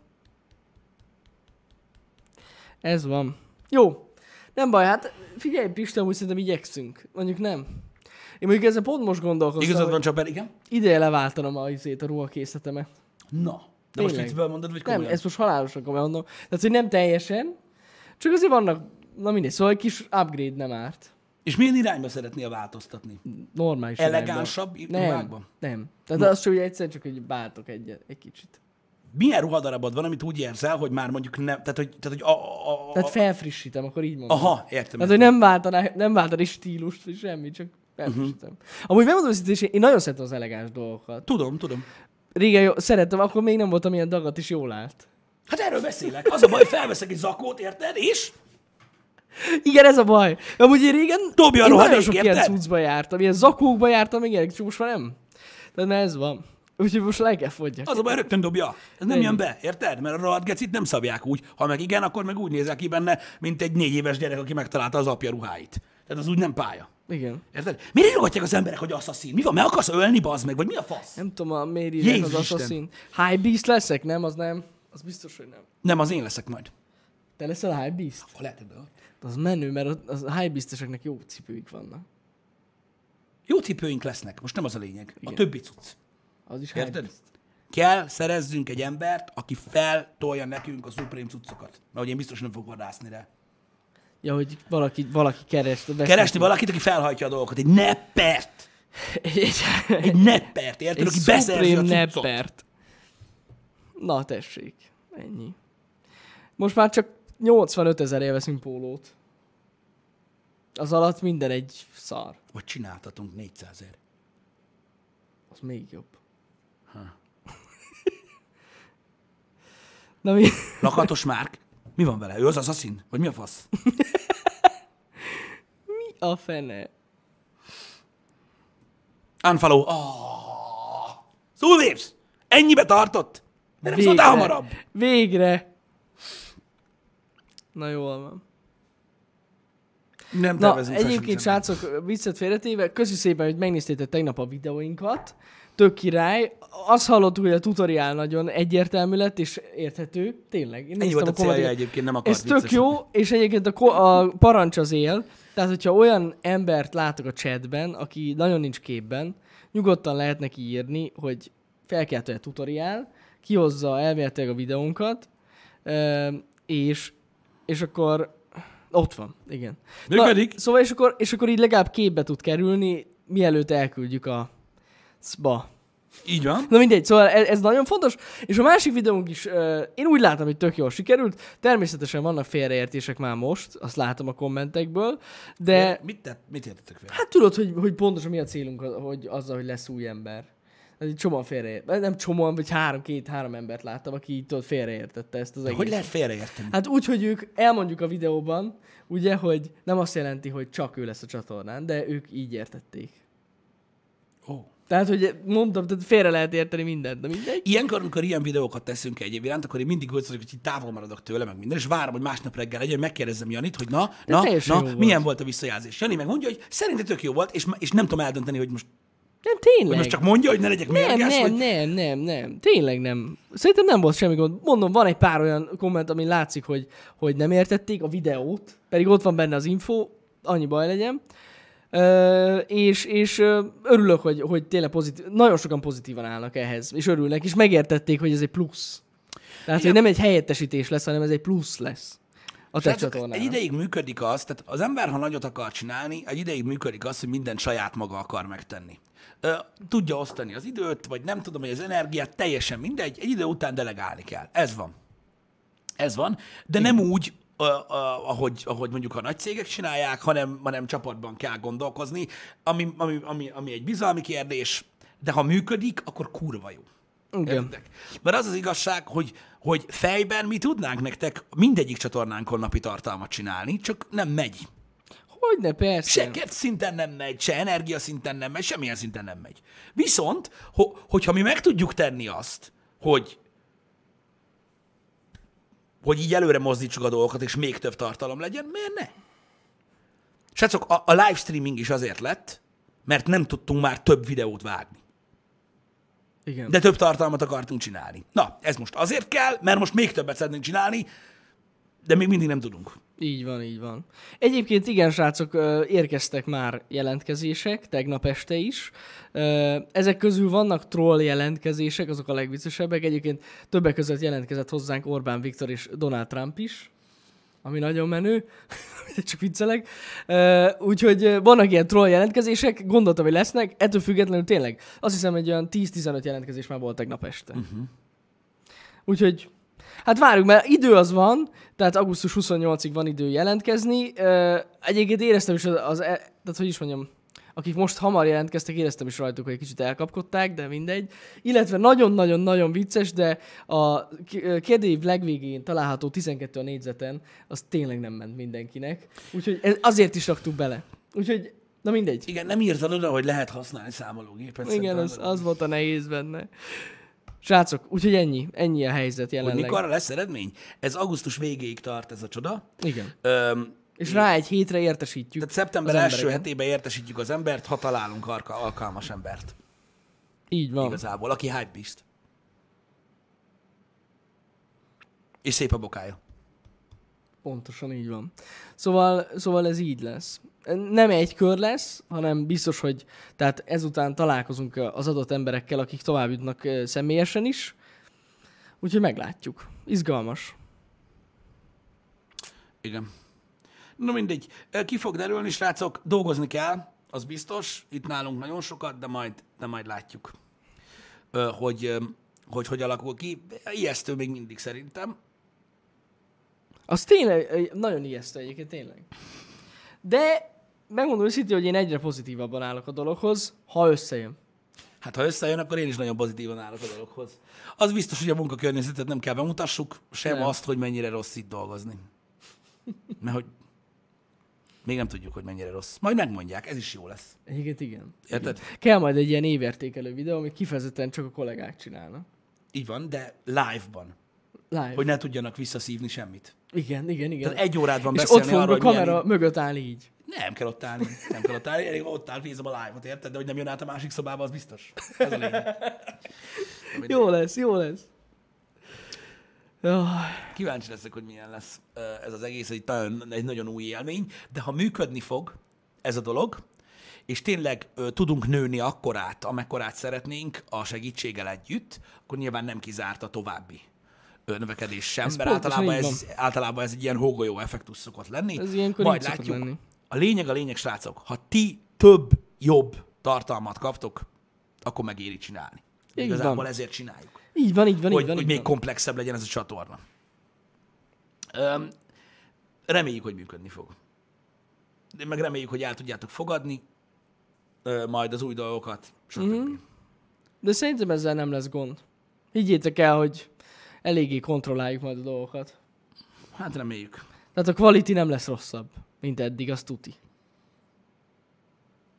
Speaker 2: Ez van. Jó. Nem baj, hát figyelj Pista, úgy szerintem igyekszünk. Mondjuk nem. Én mondjuk ezzel pont most gondolkoztam,
Speaker 1: Igazad
Speaker 2: hogy
Speaker 1: van, Csapel, igen?
Speaker 2: ideje leváltanom a, izét, a ruhakészletemet.
Speaker 1: Na, de most
Speaker 2: Tényleg.
Speaker 1: viccből mondod, vagy
Speaker 2: Nem,
Speaker 1: komolyan?
Speaker 2: ezt most halálosan komolyan mondom. Tehát, hogy nem teljesen, csak azért vannak, na mindegy, szóval egy kis upgrade nem árt.
Speaker 1: És milyen irányba szeretnél változtatni?
Speaker 2: Normális
Speaker 1: Elegánsabb
Speaker 2: irányba.
Speaker 1: irányban?
Speaker 2: Nem, nem. Tehát az, hogy egyszer csak egy váltok egy, egy kicsit.
Speaker 1: Milyen ruhadarabod van, amit úgy érzel, hogy már mondjuk nem, tehát hogy, tehát, hogy a, a, a,
Speaker 2: Tehát
Speaker 1: a,
Speaker 2: felfrissítem, akkor így mondom.
Speaker 1: aha, értem.
Speaker 2: Tehát, hogy nem váltaná, nem váltaná stílust, vagy semmi, csak felfrissítem.
Speaker 1: Mhm.
Speaker 2: Uh-huh. Amúgy megmondom őszintén, én nagyon szeretem az elegáns dolgokat.
Speaker 1: Tudom, tudom.
Speaker 2: Régen jó, szerettem, akkor még nem voltam ilyen dagat, és jól állt.
Speaker 1: Hát erről beszélek. Az a baj, felveszek egy zakót, érted? És
Speaker 2: Igen, ez a baj. Amúgy én régen
Speaker 1: Dobja a
Speaker 2: én nagyon
Speaker 1: rohadék,
Speaker 2: sok ilyen
Speaker 1: érted?
Speaker 2: cuccba jártam, ilyen zakókba jártam, meg ilyenek, csak most már nem. Tehát már ez van. Úgyhogy most le kell fogyjak.
Speaker 1: az a baj, rögtön dobja. Ez nem
Speaker 2: Ennyi.
Speaker 1: jön be, érted? Mert a rohadt gecit nem szabják úgy. Ha meg igen, akkor meg úgy nézel ki benne, mint egy négy éves gyerek, aki megtalálta az apja ruháit. Tehát az úgy nem pálya.
Speaker 2: Igen.
Speaker 1: Érted? Miért írogatják az emberek, hogy asszaszín? Mi van? Meg akarsz ölni, bazd meg? Vagy mi a fasz?
Speaker 2: Nem tudom, a miért írják az
Speaker 1: Jézus Isten.
Speaker 2: Assassin. High Beast leszek? Nem, az nem. Az biztos, hogy nem.
Speaker 1: Nem, az én leszek majd.
Speaker 2: Te leszel High Beast?
Speaker 1: Ha leheted, de-
Speaker 2: Az menő, mert az- az High Beasteseknek jó cipőik vannak.
Speaker 1: Jó cipőink lesznek, most nem az a lényeg. A többi cucc.
Speaker 2: Az is High
Speaker 1: Érted?
Speaker 2: Beast.
Speaker 1: Kell szerezzünk egy embert, aki feltolja nekünk a Supreme cuccokat. Mert hogy én biztos nem fogok vadászni rá.
Speaker 2: Ja, hogy valaki, valaki keres. vesz
Speaker 1: Keresni
Speaker 2: neki.
Speaker 1: valakit, aki felhajtja a dolgokat. Egy neppert!
Speaker 2: Egy,
Speaker 1: Egy neppert, érted?
Speaker 2: egy
Speaker 1: Aki beszerzi a
Speaker 2: Supreme
Speaker 1: cuccot.
Speaker 2: neppert. Na, tessék. Ennyi. Most már csak 85 ezer veszünk pólót. Az alatt minden egy szar.
Speaker 1: Vagy csináltatunk 400 ér.
Speaker 2: Az még jobb. Na mi?
Speaker 1: Lakatos Márk? Mi van vele? Ő az asszaszin? Vagy mi a fasz?
Speaker 2: Mi a fene?
Speaker 1: Unfollow. Oh. Szulvépsz! Ennyibe tartott! De nem szóltál hamarabb!
Speaker 2: Végre! Na jól van.
Speaker 1: Nem
Speaker 2: Na,
Speaker 1: tervezünk fel
Speaker 2: egyébként
Speaker 1: semmit.
Speaker 2: srácok, viccet félretéve, köszi szépen, hogy megnéztétek tegnap a videóinkat. Tök király. Azt hallottuk, hogy a tutoriál nagyon egyértelmű lett és érthető. Tényleg. Én
Speaker 1: Ennyi
Speaker 2: néztem
Speaker 1: volt a célja
Speaker 2: kommentet-
Speaker 1: egyébként, nem akart
Speaker 2: Ez tök
Speaker 1: vicceset.
Speaker 2: jó, és egyébként a, ko- a parancs az él, tehát hogyha olyan embert látok a chatben, aki nagyon nincs képben, nyugodtan lehet neki írni, hogy felkeltő a tutoriál, kihozza elméletileg a videónkat, ö, és, és akkor ott van, igen.
Speaker 1: Működik.
Speaker 2: szóval, és akkor, és akkor így legalább képbe tud kerülni, mielőtt elküldjük a szba.
Speaker 1: Így van.
Speaker 2: Na mindegy, szóval ez, ez nagyon fontos. És a másik videónk is, uh, én úgy látom, hogy tök jól sikerült. Természetesen vannak félreértések már most, azt látom a kommentekből, de
Speaker 1: Mit, tett, mit értettek fel?
Speaker 2: hát tudod, hogy, hogy pontosan mi a célunk hogy azzal, hogy lesz új ember. Ez egy csomóan félreért. Nem csomóan, vagy három, két-három embert láttam, aki így tudod, félreértette ezt az egészet.
Speaker 1: Hogy lehet félreérteni?
Speaker 2: Hát úgy, hogy ők elmondjuk a videóban, ugye, hogy nem azt jelenti, hogy csak ő lesz a csatornán, de ők így értették.
Speaker 1: Ó.
Speaker 2: Tehát, hogy mondtam, tehát félre lehet érteni mindent, de mindegy.
Speaker 1: Ilyenkor, amikor ilyen videókat teszünk egyéb iránt, akkor én mindig úgy vagyok, hogy így távol maradok tőle, meg minden, és várom, hogy másnap reggel legyen, megkérdezzem Janit, hogy na, na,
Speaker 2: teljesen
Speaker 1: na
Speaker 2: jó volt.
Speaker 1: milyen volt. a visszajelzés. Jani meg mondja, hogy szerintem tök jó volt, és, és nem tudom eldönteni, hogy most,
Speaker 2: Nem,
Speaker 1: hogy
Speaker 2: tényleg.
Speaker 1: most csak mondja, hogy ne legyek
Speaker 2: nem,
Speaker 1: mérges,
Speaker 2: nem,
Speaker 1: vagy...
Speaker 2: nem, nem, nem. Tényleg nem. Szerintem nem volt semmi gond. Mondom, van egy pár olyan komment, ami látszik, hogy, hogy nem értették a videót, pedig ott van benne az info, annyi baj legyen. Ö, és, és ö, örülök, hogy, hogy tényleg pozitív, nagyon sokan pozitívan állnak ehhez, és örülnek, és megértették, hogy ez egy plusz. Tehát, hogy nem egy helyettesítés lesz, hanem ez egy plusz lesz a te
Speaker 1: Srácok,
Speaker 2: csatornán.
Speaker 1: egy ideig működik az, tehát az ember, ha nagyot akar csinálni, egy ideig működik az, hogy mindent saját maga akar megtenni. Ö, Tudja osztani az időt, vagy nem tudom, hogy az energiát, teljesen mindegy, egy idő után delegálni kell. Ez van. Ez van, de nem úgy, ö, ö, ahogy, ahogy mondjuk a nagy cégek csinálják, hanem, hanem csapatban kell gondolkozni, ami, ami, ami, ami egy bizalmi kérdés, de ha működik, akkor kurva jó.
Speaker 2: Igen.
Speaker 1: Értitek? Mert az az igazság, hogy, hogy fejben mi tudnánk nektek mindegyik csatornánkon napi tartalmat csinálni, csak nem megy.
Speaker 2: Hogyne, persze.
Speaker 1: Se kedv szinten nem megy, se energia szinten nem megy, semmilyen szinten nem megy. Viszont, ho, hogyha mi meg tudjuk tenni azt, hogy hogy így előre mozdítsuk a dolgokat, és még több tartalom legyen, miért ne? Srácok, a, a live streaming is azért lett, mert nem tudtunk már több videót vágni.
Speaker 2: Igen.
Speaker 1: De több tartalmat akartunk csinálni. Na, ez most azért kell, mert most még többet szeretnénk csinálni, de még mindig nem tudunk.
Speaker 2: Így van, így van. Egyébként igen, srácok, ö, érkeztek már jelentkezések, tegnap este is. Ö, Ezek közül vannak troll jelentkezések, azok a legviccesebbek. Egyébként többek között jelentkezett hozzánk Orbán Viktor és Donald Trump is, ami nagyon menő, De csak viccelek. Ö, Úgyhogy ö, vannak ilyen troll jelentkezések, gondoltam, hogy lesznek, ettől függetlenül tényleg. Azt hiszem, egy olyan 10-15 jelentkezés már volt tegnap este. Úgyhogy hát várjuk, mert idő az van, tehát augusztus 28-ig van idő jelentkezni. Ö, Egyébként éreztem is az, az e- tehát hogy is mondjam, akik most hamar jelentkeztek, éreztem is rajtuk, hogy egy kicsit elkapkodták, de mindegy. Illetve nagyon-nagyon-nagyon vicces, de a k- ö, kérdőív legvégén található 12 a négyzeten, az tényleg nem ment mindenkinek. Úgyhogy ez azért is raktuk bele. Úgyhogy, na mindegy.
Speaker 1: Igen, nem írtad oda, hogy lehet használni számológépet.
Speaker 2: Igen,
Speaker 1: szerintem
Speaker 2: az, az volt a nehéz benne. Srácok, úgyhogy ennyi, ennyi a helyzet
Speaker 1: Hogy
Speaker 2: jelenleg.
Speaker 1: mikor lesz eredmény? Ez augusztus végéig tart ez a csoda.
Speaker 2: Igen.
Speaker 1: Öm,
Speaker 2: És rá egy hétre értesítjük.
Speaker 1: tehát szeptember
Speaker 2: az
Speaker 1: első
Speaker 2: embereket.
Speaker 1: hetében értesítjük az embert, ha találunk arka, alkalmas embert.
Speaker 2: Így van. Igaz.
Speaker 1: Igazából, aki hype-ist. És szép a bokája.
Speaker 2: Pontosan így van. Szóval, szóval ez így lesz. Nem egy kör lesz, hanem biztos, hogy tehát ezután találkozunk az adott emberekkel, akik tovább jutnak ö, személyesen is. Úgyhogy meglátjuk. Izgalmas.
Speaker 1: Igen. Na mindegy, Ö, ki fog derülni, srácok, dolgozni kell, az biztos, itt nálunk nagyon sokat, de majd, de majd látjuk, Ö, hogy, ö, hogy hogy alakul ki. Ijesztő még mindig szerintem.
Speaker 2: Az tényleg ö, nagyon ijesztő egyébként, tényleg. De megmondom őszintén, hogy én egyre pozitívabban állok a dologhoz, ha összejön.
Speaker 1: Hát ha összejön, akkor én is nagyon pozitívan állok a dologhoz. Az biztos, hogy a munkakörnyezetet nem kell bemutassuk, sem
Speaker 2: Nem.
Speaker 1: nem. azt, hogy mennyire rossz itt dolgozni. Mert hogy még nem tudjuk, hogy mennyire rossz. Majd megmondják, ez is jó lesz.
Speaker 2: Egyébként igen.
Speaker 1: Érted?
Speaker 2: Kell majd egy ilyen évértékelő videó, amit kifejezetten csak a kollégák csinálnak.
Speaker 1: Így van, de live-ban,
Speaker 2: Live.
Speaker 1: hogy ne tudjanak visszaszívni semmit.
Speaker 2: Igen, igen, igen.
Speaker 1: Tehát egy órát van
Speaker 2: és ott
Speaker 1: beszélni
Speaker 2: fogunk
Speaker 1: arról, hogy
Speaker 2: a
Speaker 1: milyen
Speaker 2: kamera mögött állni így.
Speaker 1: Nem kell ott állni, nem kell ott állni, elég ha ott áll, nézem a live-ot, érted? De hogy nem jön át a másik szobába, az biztos. Ez a lényeg.
Speaker 2: Jó lesz, jó lesz. Jaj.
Speaker 1: Kíváncsi leszek, hogy milyen lesz ö, ez az egész, egy nagyon, egy nagyon új élmény, de ha működni fog ez a dolog, és tényleg ö, tudunk nőni akkorát, amekkorát szeretnénk a segítséggel együtt, akkor nyilván nem kizárt a további ö, növekedés sem,
Speaker 2: Ez
Speaker 1: ez mert
Speaker 2: pontosan
Speaker 1: általában
Speaker 2: így
Speaker 1: ez, általában ez egy ilyen hógolyó effektus szokott lenni.
Speaker 2: Ez ilyenkor
Speaker 1: Majd
Speaker 2: így szokott
Speaker 1: látjuk.
Speaker 2: lenni.
Speaker 1: A lényeg a lényeg, srácok, ha ti több jobb tartalmat kaptok, akkor megéri csinálni.
Speaker 2: Így
Speaker 1: Igazából
Speaker 2: van.
Speaker 1: ezért csináljuk.
Speaker 2: Így van, így van,
Speaker 1: hogy,
Speaker 2: így van.
Speaker 1: hogy
Speaker 2: így
Speaker 1: még
Speaker 2: van.
Speaker 1: komplexebb legyen ez a csatorna. Öm, reméljük, hogy működni fog. De meg reméljük, hogy el tudjátok fogadni ö, majd az új dolgokat, stb.
Speaker 2: Mhm.
Speaker 1: Mm-hmm.
Speaker 2: De szerintem ezzel nem lesz gond. Higgyétek el, hogy eléggé kontrolláljuk majd a dolgokat.
Speaker 1: Hát reméljük.
Speaker 2: Tehát a quality nem lesz rosszabb, mint eddig, az tuti.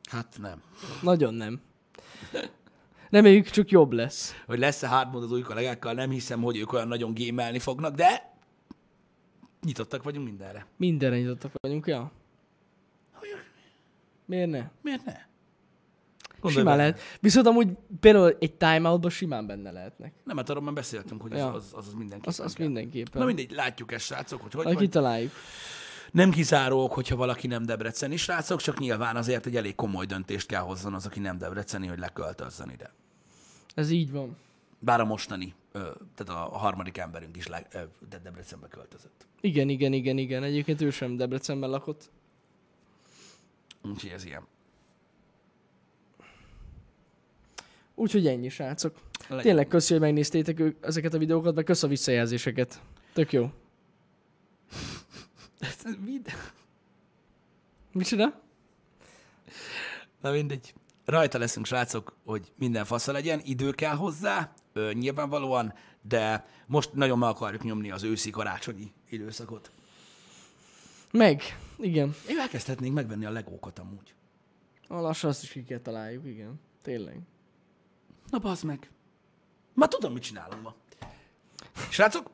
Speaker 1: Hát nem.
Speaker 2: Nagyon nem. Reméljük csak jobb lesz.
Speaker 1: Hogy lesz-e hard mode az új kollégákkal, nem hiszem, hogy ők olyan nagyon gémelni fognak, de nyitottak vagyunk mindenre.
Speaker 2: Mindenre nyitottak vagyunk, ja? Miért ne?
Speaker 1: Miért ne?
Speaker 2: Simán lehet. Viszont amúgy például egy timeoutban simán benne lehetnek.
Speaker 1: Nem, hát arról már beszéltünk, hogy
Speaker 2: Ja.
Speaker 1: ja. az, az, az mindenki.
Speaker 2: Az, az
Speaker 1: Na
Speaker 2: mindenképpen.
Speaker 1: mindegy, látjuk ezt, srácok, hogy hogy
Speaker 2: Majd
Speaker 1: vagy.
Speaker 2: kitaláljuk.
Speaker 1: Nem kizárók, hogyha valaki nem debreceni srácok, csak nyilván azért egy elég komoly döntést kell hozzon az, aki nem debreceni, hogy leköltözzön ide.
Speaker 2: Ez így van.
Speaker 1: Bár a mostani, ö, tehát a harmadik emberünk is le, ö, de Debrecenbe költözött.
Speaker 2: Igen, igen, igen, igen. Egyébként ő sem Debrecenben lakott.
Speaker 1: Úgyhogy ez ilyen.
Speaker 2: Úgyhogy ennyi, srácok.
Speaker 1: Legyen.
Speaker 2: Tényleg köszi, hogy megnéztétek ő- ezeket a videókat, meg kösz a visszajelzéseket. Tök jó.
Speaker 1: Vid-
Speaker 2: Micsoda?
Speaker 1: Na mindegy. Rajta leszünk, srácok, hogy minden fasza legyen, idő kell hozzá, ö, nyilvánvalóan, de most nagyon meg akarjuk nyomni az őszi karácsonyi időszakot.
Speaker 2: Meg. Igen.
Speaker 1: Én elkezdhetnénk megvenni a legókat amúgy.
Speaker 2: A lassan azt is ki kell találjuk, igen. Tényleg.
Speaker 1: Na bazd meg. Ma tudom, mit csinálunk ma. Srácok,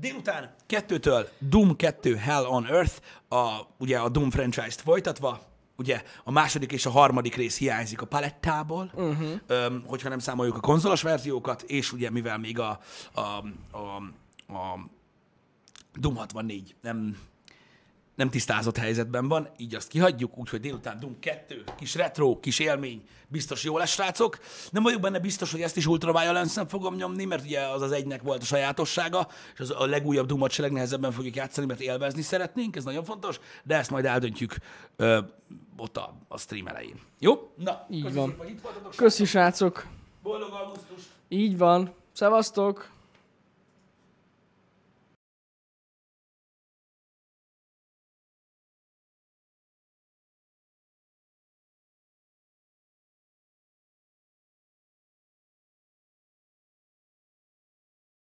Speaker 1: délután kettőtől Doom 2 Hell on Earth, a, ugye a Doom franchise-t folytatva, ugye a második és a harmadik rész hiányzik a palettából, uh-huh. öm, hogyha nem számoljuk a konzolos verziókat, és ugye mivel még a, a, a, a Doom 64 nem, nem tisztázott helyzetben van, így azt kihagyjuk, úgyhogy délután Doom 2, kis retro, kis élmény, biztos jó lesz, srácok. Nem vagyok benne biztos, hogy ezt is Ultra Violence-en fogom nyomni, mert ugye az az egynek volt a sajátossága, és az a legújabb Doom-ot se legnehezebben fogjuk játszani, mert élvezni szeretnénk, ez nagyon fontos, de ezt majd eldöntjük ö, ott a, a stream elején. Jó? Na,
Speaker 2: Így
Speaker 1: köszi
Speaker 2: van.
Speaker 1: szépen, hogy itt voltatok.
Speaker 2: Köszi, srácok.
Speaker 1: Boldog augusztust!
Speaker 2: Így van. Szevasztok.